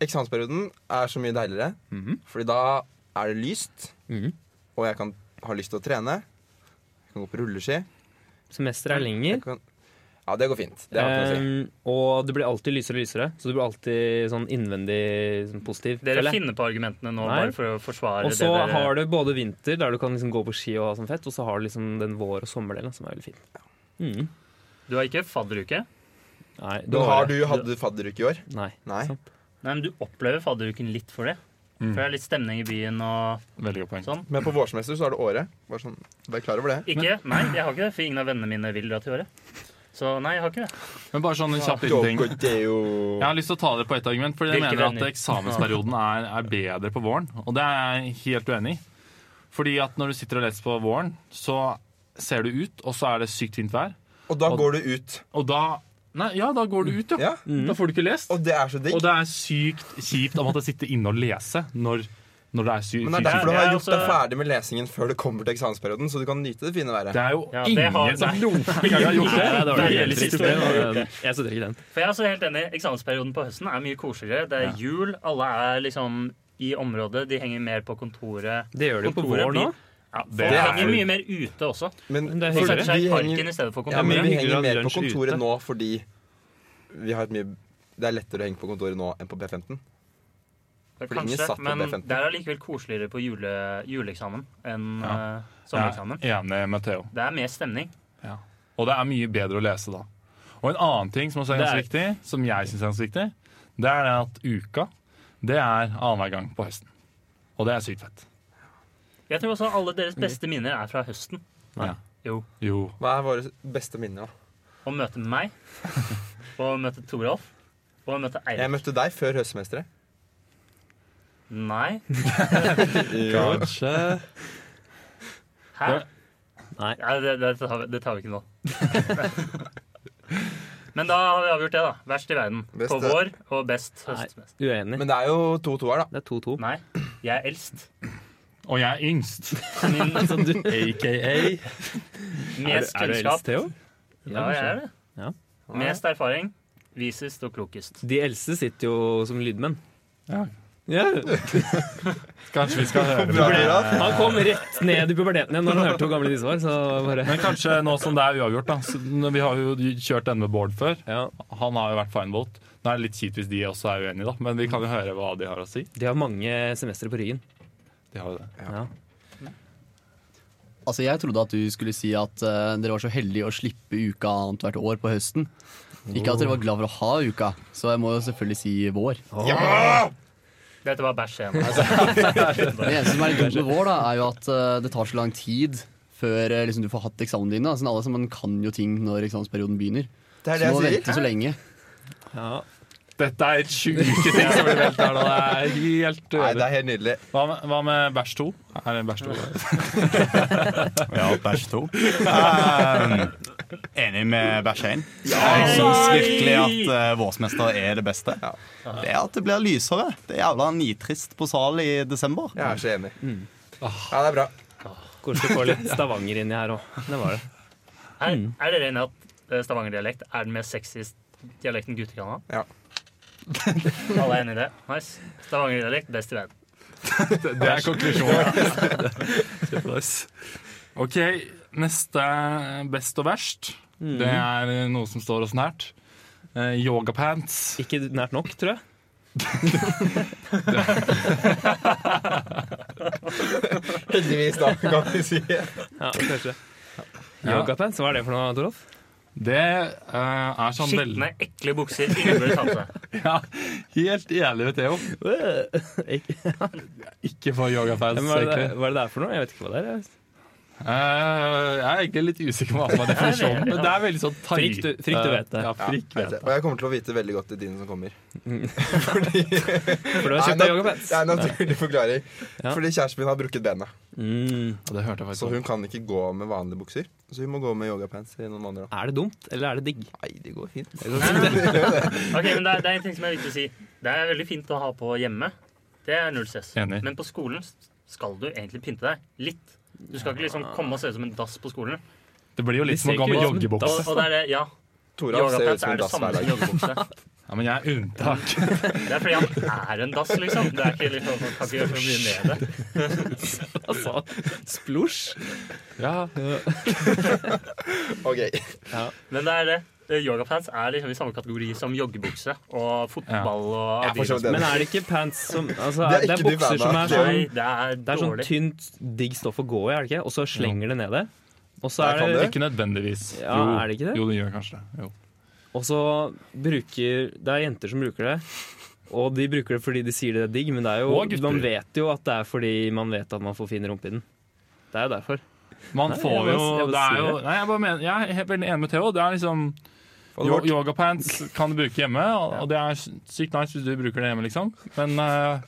B: eksamensperioden er så mye deiligere. Fordi da er det lyst,
C: Mhm.
B: og jeg kan ha lyst til å trene. Jeg kan gå på rulleski.
C: Semesteret er lenger.
B: Jeg kan, ja, det går fint. Det har jeg ikke noe å si.
C: Ehm, og det blir alltid lysere og lysere, så du blir alltid sånn innvendig sånn positiv. føler
A: Dere
C: jeg.
A: finner på argumentene nå
C: Nei.
A: bare for å forsvare
C: Og så
A: det dere
C: har du både vinter, der du kan liksom gå på ski og ha sånn fett, og så har du liksom den vår- og sommerdelen, som er veldig fin. Mm.
A: Du har ikke fadderuke.
C: Nei,
B: Men har du hatt fadderuke i år?
C: Nei.
B: Nei.
C: Sant.
A: Nei, men du opplever fadderuken litt for det. For det er litt stemning i byen og
D: Veldig godt poeng.
A: sånn.
B: Men på vårsemester så er det året. Bare sånn, Vær klar over det.
A: Ikke? Nei, jeg har ikke det, for ingen av vennene mine vil dra til året. Så nei, jeg har ikke det.
D: Men bare sånn en kjapp liten ting.
B: Doko, det er jo
D: Jeg har lyst til å ta dere på ett argument, fordi jeg
A: Hvilke
D: mener at
A: venner?
D: eksamensperioden er, er bedre på våren. Og det er jeg helt uenig i. Fordi at når du sitter og leser på våren, så ser du ut, og så er det sykt fint vær.
B: Og da går du ut.
D: Og da Nei, ja, da går du ut,
B: Ja.
D: ja. Da får du ikke lest.
B: Og det er så digg.
D: Og det er sykt kjipt å måtte sitte inne og lese når, når det er sykt
B: Men
A: Fysisk.
B: det er derfor du
A: Ja,
B: har
A: ja,
B: gjort deg
A: altså-
B: ferdig med lesingen før du kommer til eksamensperioden, så du kan nyte det fine været.
D: Det er jo
A: Ja, det
D: ingen
A: har-
D: som
A: nei.
D: noen gang har gjort det.
C: Nei, det var
A: Det er
C: helt
A: helt
C: riktig.
A: riktig.
C: Det var- Jeg støtter ikke den.
A: For jeg er også helt enig. Eksamensperioden på høsten er mye koseligere. Det er jul. Alle er liksom i området. De henger mer på kontoret.
C: Det gjør du jo på
A: Kontoret
C: vår nå.
A: blir- Ja, folk
D: Det er-
A: henger mye mer ute også.
B: Men
C: Men det er
B: for-
A: Folk
C: hyggelig.
A: setter seg i
B: vi
A: parken
B: henger,
A: i stedet for
B: ja,
A: kontoret.
B: men
C: mye
B: vi
C: hyggeligere
B: henger mer på
C: lunsj ute.
B: kontoret nå fordi vi har et mye det er lettere å henge på kontoret nå enn på B15. fordi ingen satt
A: Kanskje,
B: på
A: men
B: B15.
A: det er allikevel koseligere på jule, juleeksamen enn
D: Ja.
A: eh, sommereksamen.
D: Jeg er enig med Theo.
A: Det er mer stemning.
D: Og det er mye bedre å lese da. Og en annen ting som også er ganske viktig, som jeg syns er ganske viktig, det er det at uka det er annenhver gang på høsten. Og det er sykt fett.
A: Jeg tror også alle
C: Mm.
A: deres beste minner er fra høsten.
D: Nei.
A: Jo.
D: Jo.
B: Hva er våre beste minner, da?
A: Å møte
C: *laughs*
A: meg, og å møte Toralf, og å møte
B: Jeg
A: Eirik.
B: møtte deg før høstsemesteret.
A: Nei.
D: Kanskje
C: eh,
A: Hæ?
D: Ja.
C: Nei.
A: Ja, det, det, tar vi, det tar vi ikke nå. *laughs* Men da har vi avgjort det, da. Verst i verden.
B: Best,
A: på
B: ja.
A: vår og best høstmest.
C: Uenig.
B: Men det er jo to-to her, da.
C: Det er 2-2.
A: Nei, jeg er eldst.
D: Og jeg er yngst.
C: *laughs*
A: Min,
C: *laughs* Så du- AKA
A: mest
C: Er du eldst,
A: kunnskap.
C: Theo?
A: Ja, jeg er det.
C: Ja.
A: Mest erfaring. Visest og klokest.
C: De eldste sitter jo som lydmenn.
D: Ja.
C: Ja.
D: Kanskje vi skal høre
B: Bra, bra.
C: Han kom rett ned i puberteten igjen når han hørte hvor gamle disse var. Så bare,
D: Men kanskje nå som det er uavgjort, da. så når Vi har jo kjørt denne med Bård før.
C: ja.
D: Han har jo vært finebolt. Nå er det litt kjipt hvis de også er uenige, da. Men vi kan jo høre hva de har å si.
C: De har mange semestre på ryggen.
D: De har jo det.
C: Ja.
F: Altså, jeg trodde at du skulle si at eh, dere var så heldige å slippe uka annethvert år på høsten. Ikke at dere var glad for å ha uka, så jeg må jo selvfølgelig si vår.
A: Dette var bæsj igjen.
F: Det eneste som er litt dumt med vår, da, er jo at eh, det tar så lang tid før eh, liksom, du får hatt eksamen dine. Altså, alle sammen kan jo ting når eksamensperioden begynner.
B: Det er
F: Så
B: det
F: du må
B: jeg sier.
F: vente så lenge.
C: Ja.
D: Dette er et sjuke ting som *laughs* blir meldt her nå. Det er helt
B: Nei, det
D: øde.
B: er helt nydelig.
D: Hva med, hva med bæsj 2? Er det bæsj 2?
G: Ja, bæsj 2. Eh, enig med bæsj 1. Jeg
C: sånn
G: syns virkelig at eh, vårsmester er det beste. Det er at det blir lysere. Det er jævla nitrist på sal i desember.
B: Jeg er så enig. Ja, det er bra.
C: Koselig å få litt Stavanger inni her òg. Det var det.
A: Er, er dere enige at eh, stavangerdialekt er den mest sexy dialekten gutter kan ha?
B: Ja.
A: Alle er enig i det? Nice. Stavangerdialekt, best i verden.
D: Det er *laughs* konklusjonen. OK, neste best og verst. Det er noe som står oss nært. Eh, Yogapants.
C: Ikke nært nok, tror jeg.
B: Heldigvis, da, kan vi si.
C: Ja, kanskje.
D: Ja.
C: Yogapants, hva er det for noe, Torolf?
D: Det eh, er sånn
A: Skitne, ekle bukser. Ingen burde ta på seg.
D: Ja, helt enig med Theo.
B: Øh,
C: Ikke-
D: Ikke for yogapants,
C: Men Hva er det
D: egentlig.
C: hva er det det er for noe? Jeg vet ikke hva det er. jeg.
D: Eh, jeg er egentlig litt usikker på hva som er
C: *laughs*
D: definisjonen, men det er veldig sånn tight.
C: Frikk du- frikk du vet det.
D: Ja, frikk vet det.
B: Og jeg kommer til å vite veldig godt i dine som kommer.
C: For du har
B: Nei,
C: kjøpt deg
B: nat-
C: yogapants?
B: Det er en naturlig forklaring.
C: Ja.
B: Fordi kjæresten min har brukket benet.
C: Mm.
D: Ja, det hørte jeg
B: Så
D: faktisk.
B: hun kan ikke gå med vanlige bukser. Så hun må gå med yogapants i noen måneder. da.
C: Er det dumt, eller er det digg?
B: Nei, det går fint.
A: Ok, men det er, det er en ting som er viktig å si. Det er veldig fint å ha på hjemme. Det er null stress.
D: Enig.
A: Men på skolen skal du egentlig pynte deg litt. Du skal ikke liksom komme og se ut som en dass på skolen.
D: Det blir jo litt
C: De
D: som å
C: ser
D: gå
C: ikke
D: med
C: ut som
A: Og,
D: joggebukse.
A: og det er det, ja.
B: Tora ser ut
A: Yogapants
B: som
A: er
B: en
A: det
B: dass
A: samme
B: hver
A: som
B: dag.
A: joggebukse.
D: Ja, men jeg er unntak.
C: *laughs*
A: Det er fordi han er en dass, liksom. Det er ikke liksom, Man kan ikke gjøre så mye med det.
C: Altså, *laughs* splosj?
D: Ja,
B: Ok.
A: Men det er det. Eh, Yogapants er liksom i samme kategori som joggebukse og fotball og
B: Jeg forstår
A: Adidas.
B: det.
C: Men er det ikke pants som altså,
B: Det
C: Det
B: er
C: er, det er
B: ikke du
C: bukser
B: vant av.
C: som er sånn
A: Nei, det er
C: Det er sånn
A: dårlig.
C: tynt, digg stoff å gå i, er det ikke? Og så slenger det ned det. Og så
B: Der
C: er
B: kan
C: det,
B: du.
D: ikke nødvendigvis.
C: Ja, er det ikke det?
D: Jo, det gjør kanskje det. Jo.
C: og så bruker Det er jenter som bruker det. Og de bruker det fordi de sier det er digg, men det er jo,
D: Og gutter.
C: man vet jo at det er fordi man vet at man får fin rumpe i den. Det er jo derfor.
D: Man
C: Nei, jeg
D: får
C: bare-
D: jo,
C: jeg bare
D: det er
C: sier
D: jo
C: det.
D: Nei, jeg bare mener Jeg er helt veldig enig med Theo. Det er liksom yo- Yogapants kan du bruke hjemme, og, og det er sykt nice hvis du bruker det hjemme, liksom. Men eh,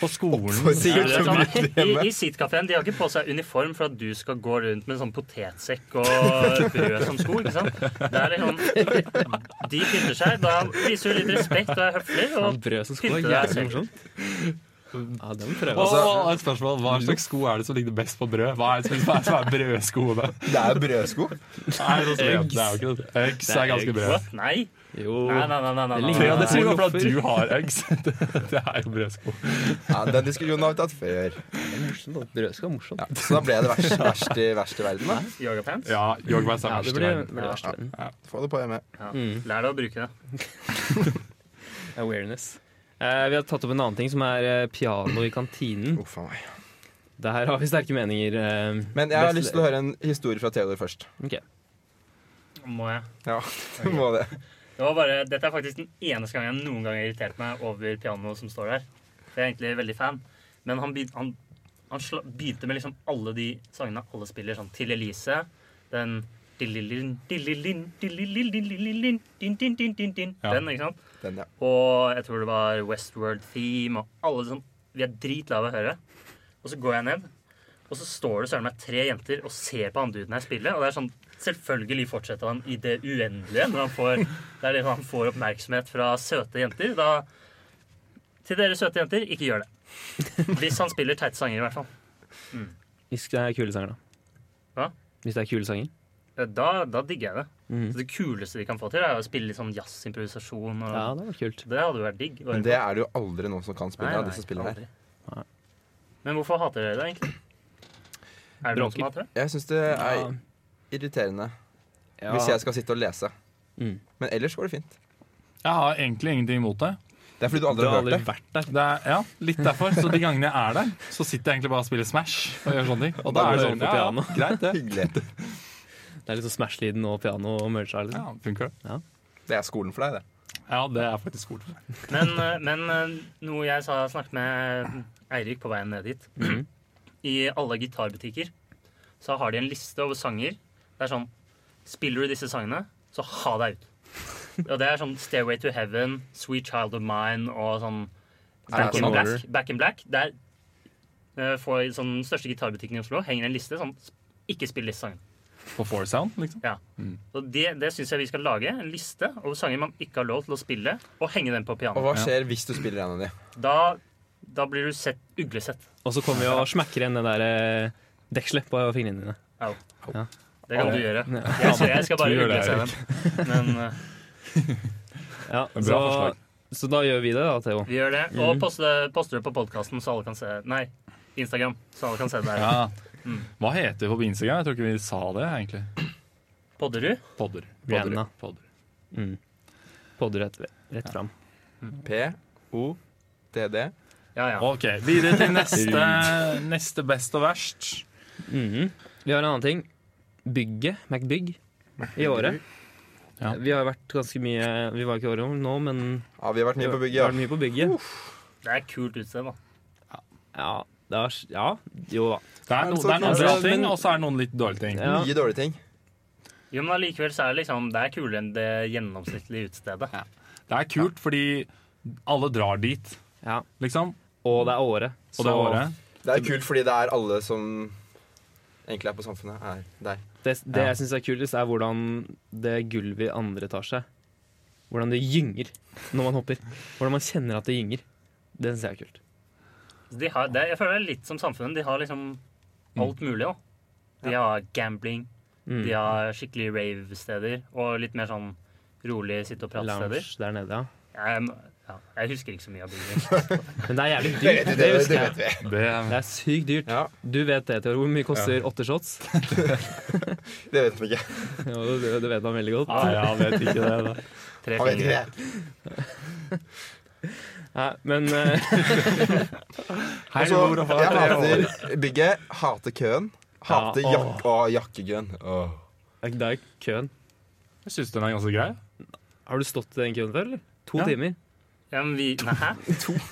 D: på skolen
A: Ja,
B: Sikkert
A: det
B: så
A: er
B: mye
A: sånn, I, i sitkafeen de har ikke på seg uniform for at du skal gå rundt med sånn potetsekk og brød som sko. ikke sant? Det er liksom, De pynter seg. Da viser du litt respekt og er høflig.
C: Han
A: Og
C: brød som sko er
A: Pynte deg
C: jævlig
A: selv.
C: morsomt. Ja, det må vi prøve.
D: og,
C: Altså.
D: og et spørsmål, Hva slags sko er det som ligger best på brød? Hva er det som hva er, det som er brødskoene?
B: Det er jo brødsko.
D: Nei, det er
C: Uggs.
D: jo ikke det. Uggs
C: Det er
D: er ganske
C: Uggs.
D: brød.
A: What? Nei.
C: Jo.
A: Nei, nei, nei, nei, nei, nei,
D: Theo,
A: nei.
D: det sier noe for at du har Uggs. *laughs* Det, det er jo brødsko.
B: Ja, Den diskusjonen har vi tatt før.
C: Brød skal være morsomt.
B: Ja, *laughs* så da ble det verst, verst, i, verst i verden. da
A: Yogapants.
D: Ja, Yogapants er
C: Ja, det
D: verst i
C: blir
D: verden.
C: blir verst i verden.
B: Få det på hjemme.
A: Ja. Lær deg å bruke det.
C: Awareness. Eh, vi har tatt opp en annen ting, som er eh, piano i kantinen.
B: Uff a meg.
C: Der har vi sterke meninger. eh,
B: Men jeg har
C: best-
B: lyst til å høre en historie fra Theodor først.
C: Ok.
A: Må jeg?
B: Ja, du *laughs* må det.
A: Det var bare, dette er faktisk den eneste gangen jeg noen gang har irritert meg over pianoet som står der. For jeg er egentlig veldig fan. Men han, beg- han, han sla, begynte med liksom alle de sangene alle spiller, sånn Til Elise, den dililin, dililin, dilililililin, din, din, din, din, din.
D: Ja.
A: Den, ikke sant?
B: Den, ja.
A: Og jeg tror det var Westworld Theme og alle sånn. Vi er dritlave å høre. Og så går jeg ned, og så står det søren meg tre jenter og ser på han duden her spille. Og det er sånn, selvfølgelig fortsetter han i det uendelige når han får, det er det han får oppmerksomhet fra søte jenter. Da Til dere søte jenter, ikke gjør det. Hvis han spiller teite sanger, i hvert fall.
C: Hvis det er kule sanger, da.
A: Hva?
C: Hvis det er kule sanger.
A: Da, da digger jeg det.
C: Mhm.
A: Så det kuleste de kan få til, er å spille litt sånn jazzimprovisasjon. Og,
C: Ja, det var kult.
A: Det hadde jo vært digg. å høre
B: Men det er det jo aldri noen som kan
A: på. Nei,
B: spille
A: nei,
B: av de som spiller her.
A: aldri.
C: Nei.
A: Men hvorfor hater dere det, egentlig? Er det noen som
C: Bråker.
A: hater det?
B: Jeg syns det er
C: Ja.
B: irriterende
C: Ja.
B: hvis jeg skal sitte og lese.
C: Mm.
B: Men ellers går det fint.
D: Jeg har egentlig ingenting imot det.
B: Det er fordi du
C: Du
B: aldri
C: har
B: har hørt
C: aldri
B: det.
C: vært der.
D: det er, ja, litt derfor. Så de gangene jeg er der, så sitter jeg egentlig bare og spiller Smash og gjør sånne ting. Og da
C: Da
D: er det
C: går
D: sånn,
C: det over på
D: ja,
C: piano.
D: ja, *laughs* greit
B: *laughs*
D: det.
B: Hyggelig.
C: Det er liksom Smash-lyden og piano og merger. Liksom.
D: Ja, funker det.
B: Det er skolen for deg, det.
D: Ja, det er faktisk cool.
A: Men, eh, men eh, noe jeg sa, snakket med eh, Eirik på veien ned dit. I alle gitarbutikker så har de en liste over sanger. Det er sånn Spiller du disse sangene, så ha deg ut. Og det er sånn Stairway to Heaven, Sweet Child of Mine og sånn Back
C: Back
A: in
C: in
A: Black.
C: Order.
A: Back in Black. Der eh, får sånn, den største gitarbutikken i Oslo henger en liste sånn Ikke spill disse sangene.
D: På Foursound, liksom.
A: Ja. Og det, det syns jeg vi skal lage. En liste over sanger man ikke har lov til å spille, og henge den på
B: Og
A: pianoet.
B: hva skjer hvis du spiller en av de?
A: Da, da blir du sett, uglesett.
C: Og så kommer vi og smekker igjen det der eh, dekselet på fingrene dine.
A: Au.
C: Ja.
A: Det kan du gjøre.
C: Ja.
A: Jeg, skal- jeg skal bare
D: Du gjør det,
A: uglese dem. Men eh,
C: Ja,
D: Bra
C: så,
D: forslag.
C: så da gjør vi det, da, Theo.
A: vi gjør det. Og
C: Mm.
A: poste, poster det på podkasten, så alle kan se Nei, Instagram, så alle kan se det der.
D: Ja. Mm. Hva heter vi på Instagram? Jeg tror ikke vi sa det, egentlig.
A: Podder du?
D: Podder.
C: Rihanna.
D: Podder.
C: Mm. Podder rett, rett fram.
B: P-O-D-D.
A: Ja, ja.
D: Ok, videre til neste, neste best og verst.
C: Mhm. Vi har en annen ting. Bygget, MacBygg, i året.
D: Ja.
C: Vi har vært ganske mye Vi var ikke i året nå, men
B: Ja, vi har vært
C: vi
B: mye
C: har
B: på bygget.
C: vært mye på bygget.
A: Det er et kult utsted, da.
C: Ja, det er, ja, jo da.
D: Det er, noen- det er noen
C: Altså,
D: bra
C: men-
D: ting, og så er det noen litt dårlige ting.
C: Ja.
B: Mye dårlige ting.
A: Jo, men allikevel så er det liksom Det er kulere enn det gjennomsnittlige utestedet.
D: Det er kult, fordi alle drar dit,
C: Ja.
D: liksom.
C: Og det er året.
D: Og det
C: så
D: året.
B: Det er kult fordi det er alle som egentlig er på Samfunnet, er der.
C: Det, det
D: Ja.
C: jeg syns er kulest, er hvordan det gulvet i andre etasje Hvordan det gynger når man hopper. Hvordan man kjenner at det gynger. Det syns jeg er kult.
A: Så De har, det, jeg føler det er litt som samfunnet. De har liksom alt mulig. da. De har gambling,
C: Mm.
A: de har skikkelig rave-steder og litt mer sånn rolig sitte og
C: Lounge
A: prate-steder.
C: der nede, ja.
A: Jeg, ja, jeg husker ikke så mye av bygget.
C: Men det er jævlig dyrt. Det husker jeg.
B: vi.
D: Det,
C: Det er sykt dyrt.
B: Ja,
C: Du vet det, Theodor. Hvor mye koster åtte shots? *laughs*
B: det vet vi ikke.
C: Ja, det, det vet man veldig godt.
D: ah, ja, vet ikke det. Da.
A: Tre
B: Han vet ikke
A: fingre.
B: det.
C: Nei, men eh, *laughs*
D: Hei,
C: Altså,
B: Så
D: mor og far.
B: jeg hater bygget, hater køen, hater
C: Ja,
B: jak og jakkekøen. Åh.
C: det er køen.
D: Jeg syns den er ganske grei.
C: Har du stått i den køen før, eller? To
D: Ja.
C: timer.
A: Ja, men vi, nei, hæ?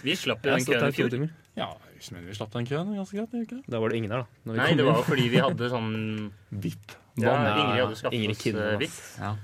A: Vi slapp jo
C: Jeg har
A: den
C: stått
A: køen
C: der
A: i
C: i to
A: fjor.
C: timer.
D: Ja, jeg mener vi slapp den køen ganske greit. gjør vi ikke det?
C: Da var det ingen der, da. når vi
A: Nei,
C: kom
A: det
C: inn.
A: var jo fordi vi hadde sånn
D: Vipp.
A: ja,
D: Vann.
A: Ingrid hadde
C: Ja,
A: skaffet
C: Ingrid
A: oss
C: Kidman,
A: eh,
C: ass.
A: hvitt.
D: Ja.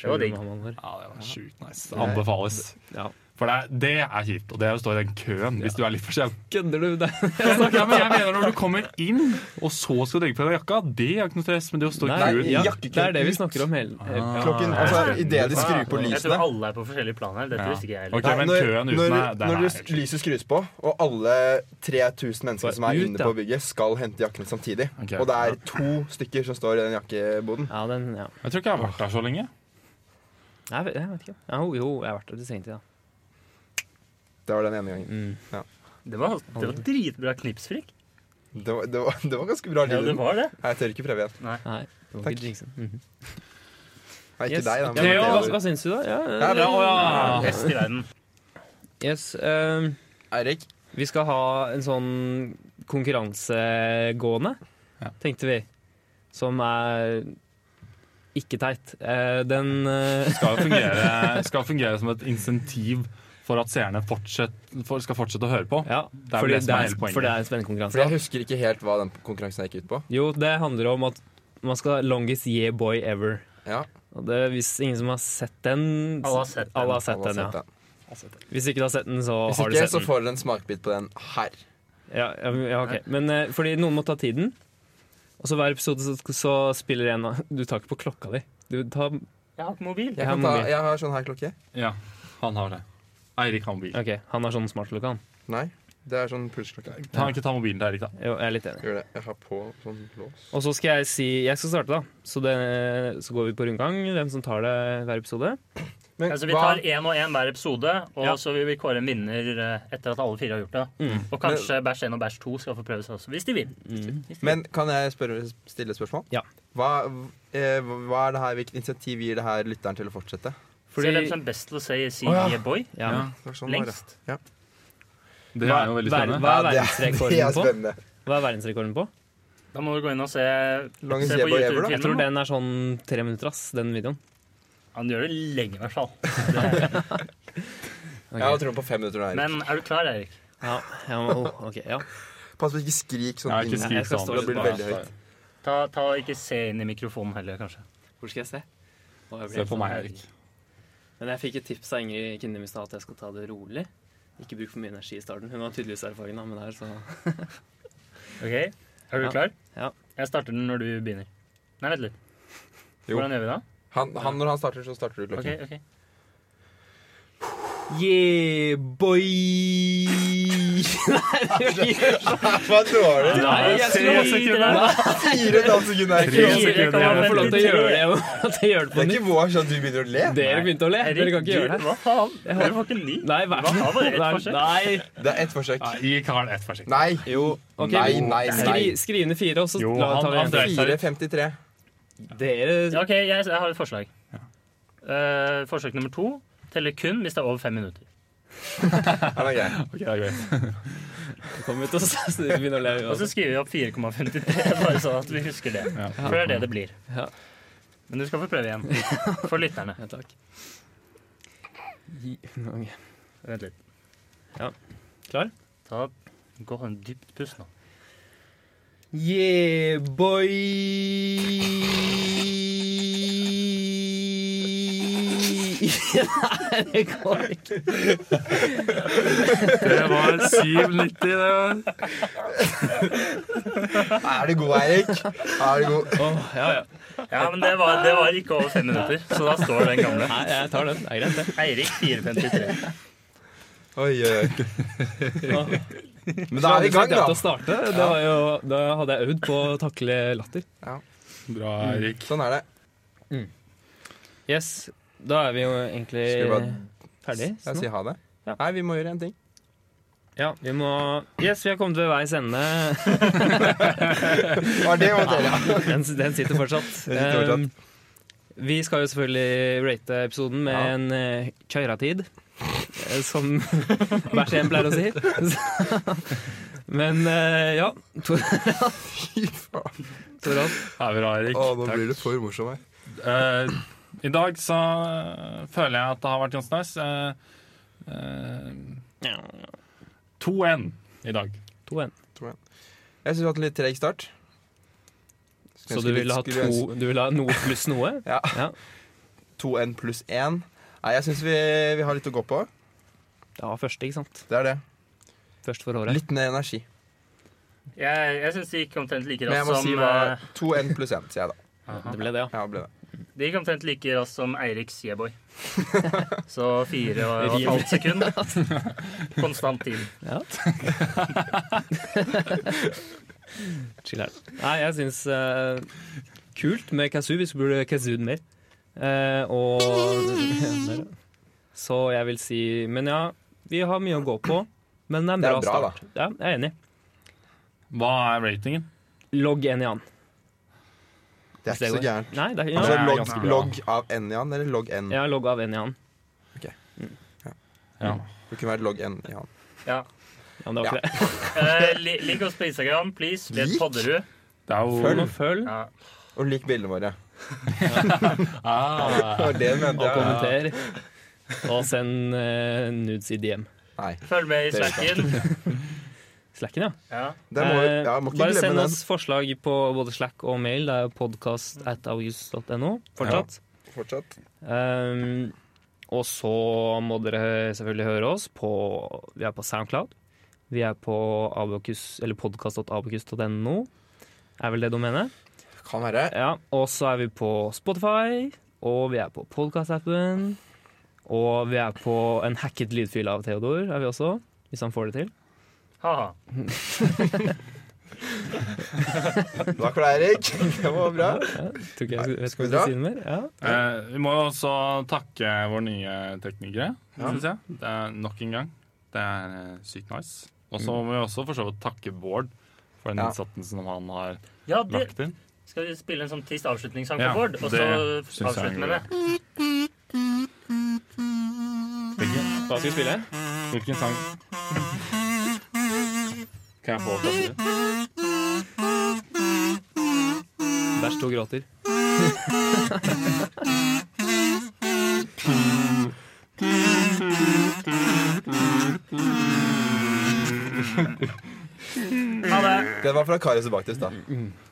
A: Det var digg.
C: Skjønner man var.
D: Ja, det var sjukt nice. Det Anbefales.
C: Ja.
D: For det er, det er kjipt, og det er å stå i den køen hvis du er litt for sen.
C: Kødder du? *laughs* Det er-
D: Ja, men jeg mener når du kommer inn, og så skal du legge på deg jakka, det er ikke noe stress. Men det å stå i
C: Nei,
D: køen
C: ja,
B: jakkekøen
C: det er det vi snakker om hele hele-
B: Klokken,
A: Ah,
B: altså, Idet de skrur på
A: Jeg tror
B: lysene
A: alle er på forskjellige plan her. Dette
D: Ja.
A: visste ikke jeg
D: Ok,
A: heller.
D: men
B: når,
D: køen
B: når,
D: uten er, den
B: når
D: er
B: lys-
D: helt
B: lyset skrus på, og alle 3000 mennesker som er
C: Ut,
B: inne
C: ja.
B: på bygget, skal hente jakkene samtidig.
D: Ok.
B: Og det er to stykker som står i den jakkeboden.
C: Ja, den, ja.
D: Jeg tror ikke jeg har vært der så lenge.
C: Jeg vet, jeg vet ikke. Ja, jo, jo, jeg har vært der til sent i dag.
B: Det var den ene gangen.
A: Det var, det var dritbra knipsfrik.
B: Det var, det var, det var ganske bra
A: Ja,
B: lyd. i
A: det
B: den.
A: var det.
B: Nei, Jeg tør ikke prøve igjen.
C: Nei, det var
B: Takk.
C: ikke jinxen. Mhm.
B: Nei, ikke deg,
C: Yes.
B: da.
C: Ja,
B: men
C: hva,
B: Theodor.
C: hva syns du, da? Ja,
B: Ja, bra.
D: Å, ja.
A: Best i verden.
C: Yes, ehm,
B: Eirik,
C: vi skal ha en sånn konkurranse gående,
D: Ja.
C: tenkte vi. Som er ikke teit. Eh, den eh,
D: Skal jo fungere, skal fungere som et insentiv for at seerne fortsett, for, skal fortsette å høre på.
C: Ja,
D: er vel
C: fordi
D: det som er hele poenget.
C: for det er
B: For
C: en
B: jeg
C: spennkonkurranse.
B: husker ikke helt hva den konkurransen gikk ut på.
C: Jo, det handler om at man skal ha 'longest yeah boy ever'.
B: Ja,
C: Og det, hvis ingen som har sett den
A: Alle har sett den.
C: alle har sett
B: alle har
C: den,
B: sett
C: ja.
B: den.
C: Hvis ikke du har sett den, så
B: Hvis
C: har du
B: ikke,
C: sett
B: så
C: den.
B: får dere en smakbit på den her.
C: Ja, ja, ja, ok. Men eh, fordi noen må ta tiden, og så hver episode så, så spiller en av Du tar ikke på klokka di. Du tar
A: Jeg har ikke mobil.
B: Jeg,
C: Ja,
B: kan ta,
C: mobil.
B: jeg har sånn her klokke.
D: Ja, han har det. Eirik har mobil.
C: OK, han har sånn smartklokke, han.
B: Nei, det er sånn pulsklokke.
D: Kan han ikke ta mobilen til Eirik, da?
C: Jo, jeg er litt enig.
B: Gjør det. Jeg har på sånn lås.
C: Og så skal jeg si Jeg skal starte, da. Så, det, så går vi på rundgang, hvem som tar det hver episode.
B: Men
A: Altså, vi
B: hva,
A: tar én og én hver episode, og
C: Ja.
A: så vil vi kåre en vinner eh, etter at alle fire har gjort det. da.
C: Mm.
A: Og kanskje bæsj 1 og bæsj 2 skal få prøve seg også, hvis de vil. Hvis de vil.
B: men kan jeg spørre, stille et spørsmål?
C: Ja.
B: Hva, eh, hva er det her, Hvilket initiativ gir det her lytteren til å fortsette?
A: Så er det
C: Fordi
A: som best til å si si
B: Å, ja.
A: yeah boy
C: ja.
B: Det var sånn bare.
A: lengst.
D: Det er jo veldig
C: Hva-
D: spennende.
C: Hva er
B: Ja, det, er- det er
C: verdensrekorden på?
B: spennende.
C: Hva er verdensrekorden på?
A: Da må du gå inn og se,
B: Longest
A: se
B: yeah
A: på
B: boy ever, da.
C: Jeg tror
A: YouTube-filmen.
C: den er sånn tre minutter, ass, den videoen.
A: Han gjør det lenge, i hvert fall.
C: Ok.
B: Jeg har troen på fem minutter nå, Eirik.
A: Men er du klar, Erik?
C: Ja, ja, *laughs* men- oh, ok, ja.
B: Pass på ikke skrik sånn
D: Jeg har
B: inn.
C: jeg
D: ikke skrevet
C: skal
D: sånn.
C: stå
B: Da blir det veldig høyt.
A: Ta, ta og Ikke se inn i mikrofonen heller, kanskje.
C: Hvor skal jeg sånn- se?
D: Se på meg, Eirik.
C: Men jeg fikk et tips av Ingrid Kindem i stad at jeg skal ta det rolig. Ikke bruk for mye energi i starten. Hun har tydeligvis erfaring da, med det her, så
A: Ok, Er du
C: Ja.
A: klar?
C: Ja.
A: Jeg starter den når du begynner. Nei, vent litt.
B: Jo.
A: Hvordan gjør vi det?
B: Han, han, når han starter, så starter du
A: Ok,
B: *laughs* klokken.
A: ok.
C: Yeah, boy! Nei, det gjør sånn.
B: Det var dårlig!
C: Nei, jeg skulle også ikke gjøre det.
B: Fire og et halvt sekund er
D: Tre
B: ikke
D: sekunder.
B: lov.
C: Jeg må få lov til å gjøre det. Jeg må at jeg gjør
B: Det
C: det på
B: er
C: nytt.
B: ikke vår sånn at du begynner å le.
C: Dere begynte å le. Dere kan ikke gjøre det.
A: Hva faen? Dere var ikke ni.
C: Nei, vær
A: Hva
C: så
A: faen var det et
C: snill.
A: forsøk?
C: Nei.
B: Det er ett forsøk.
D: Nei, Gi Karl ett forsøk.
B: Nei.
C: Jo, ok.
B: Nei, nei, nei.
C: Skri, skriv ned fire, og så
D: Jo,
C: la- tar vi en
D: han-
C: til.
B: 4.53.
C: Dere
A: Ok, jeg, jeg har et forslag. Eh, forsøk nummer to teller kun hvis det er over fem minutter.
B: Han er grei.
D: Ok, det er greit.
C: kommer til å s- begynne å *laughs* le.
A: Og så
C: uansett.
A: skriver vi opp 4,53, bare sånn at vi husker det.
D: Ja.
A: For det er det det blir.
C: Ja.
A: Men du skal få prøve igjen. For lytterne.
C: *laughs* Ja, takk. Gi- ok.
A: Vent litt.
C: Ja. Klar?
A: Ta, gå en dypt pust nå.
C: Yeah, boy! Nei, det går ikke.
D: Det var 7,90, det. var-
B: Er du god, Eirik? Er du god?
C: Åh, ja, ja.
A: Ja, men det var, det var ikke over fem minutter, så da står den gamle.
C: Nei, jeg tar den. Det er greit, det.
A: Eirik 453.
B: Oi, oi, oi.
C: Åh,
B: Men da er vi i gang,
C: det å
B: da.
C: starte, det var jo, da hadde jeg øvd på å takle latter.
D: Bra, Eirik.
B: Sånn er det.
C: Yes, da er vi jo egentlig
B: Skal vi bare-
C: ferdig.
B: Jeg sier ha det.
C: Sånn. Ja.
B: Nei, vi må gjøre en ting.
C: Ja, vi må Yes, vi har kommet ved veis ende.
B: Var det var dere?
C: Den, den sitter fortsatt.
B: *laughs* Den sitter fortsatt.
C: Um, vi skal jo selvfølgelig rate episoden med en uh, kjøretid, eh, som *laughs* hver sin pleier å si. *laughs* Men eh, ja. *laughs*
B: Fy faen.
C: Toralf,
D: Det er bra, Eirik.
B: Å, nå
D: Takk.
B: blir det for morsom her.
D: Eh, I dag så eh, føler jeg at det har vært ganske nice. Eh, eh, 2-1 i dag.
C: 2-1.
B: Jeg syns du har hatt en litt treg start.
C: Så du vil ha to Du vil ha noe pluss noe?
B: Ja.
C: ja.
B: 2-1 pluss 1. Nei, jeg syns vi, vi har litt å gå på.
C: Det var første, ikke sant?
B: Det er det.
C: Først for året.
B: Litt ned energi.
A: Jeg, jeg syns det gikk omtrent like
B: Men jeg
A: raskt
B: må
A: som
B: si hva
A: eh,
B: 2-1 pluss 1, sier jeg da.
C: Det ble det, ja.
B: Ja, ble det.
A: Det gikk omtrent like raskt som Eiriks
D: *laughs*
A: Yeboy. Så fire og og et halvt sekund.
D: *laughs*
A: Konstant tid.
C: ja. Chill her. Nei, jeg syns eh, Kult med kazoo. Vi burde kazoo mer. Eh, og ja, der, ja. Så jeg vil si Men ja, vi har mye å gå på. Men det er en
B: Det
C: bra,
B: er bra,
C: start. Ja, jeg er enig.
D: Hva er ratingen?
C: Logg en i annen.
B: Det er ikke så gærent.
C: Nei, det er, ja.
B: Altså
D: det er
B: logg,
D: ganske bra.
B: logg av N, Jan, eller logg N?
C: ja, logg av en i annen.
D: Ja.
B: Det kunne vært logg N, Jan.
A: Ja.
C: Ja, men det var ikke det.
A: Eh, li, lik oss på Instagram, please. Vi heter
B: Lik?
A: Podderud.
D: Det er jo
C: Følg og følg.
A: Ja.
C: *laughs*
B: Og lik bildene våre.
D: Ah,
B: *laughs* Det var det jeg
C: Ah. Og
B: mente. Ja.
C: kommenter. Og send eh, nudes i DM.
B: Nei.
A: Følg med i
B: Det er
A: slacken.
C: Slacken, ja.
B: Det må,
C: Eh,
B: ja, må ikke
C: Bare send
B: glemme den.
C: oss forslag på både Slack og mail. Det er podcast at august.no fortsatt.
B: Fortsatt.
C: Um, og så må dere selvfølgelig høre oss på Vi er på Soundcloud. Vi er på abacus- eller podkast.abokus.no. Er vel det domenet.
B: Kan være.
C: Ja, og så er vi på Spotify, og vi er på podkastappen. Og vi er på en hacket lydfil av Theodor, er vi også. Hvis han får det til.
A: Ha-ha.
B: Takk for deg, Erik. *laughs* Det var bra.
C: Tror ikke jeg
B: skal vi
C: vet ikke hva jeg
B: dra?
C: skal si noe mer. Ja.
D: eh, vi må også takke våre nye teknikere, synes jeg. Det er nok en gang. Det er eh, sykt nice. Og så må vi også for så vidt takke Bård for den
B: Ja.
D: innsatsen som han har
A: Ja, det,
D: lagt inn.
A: skal vi spille en sånn trist avslutningssang
D: Ja,
A: for Bård, og så
D: det synes jeg er
A: avslutte
D: en
A: med
D: god
A: det?
C: Hva skal vi spille?
D: Hvilken sang? Kan jeg få klasse?
C: Bæsj to gråter.
B: Den var fra Karius og Baktus, da.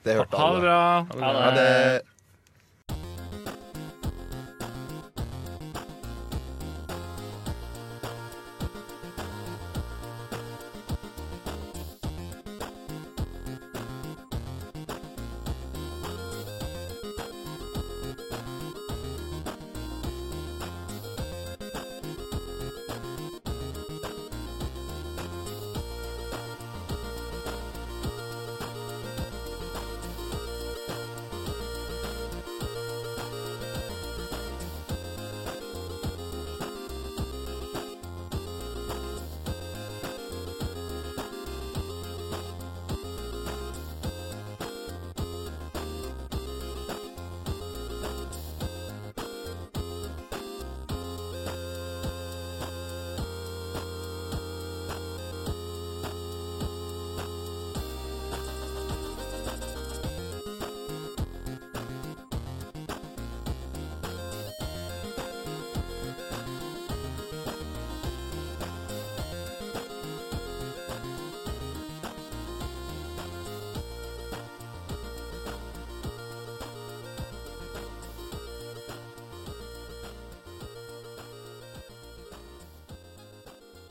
B: Det hørte
D: Ha det
B: alle.
D: bra!
B: Ha det.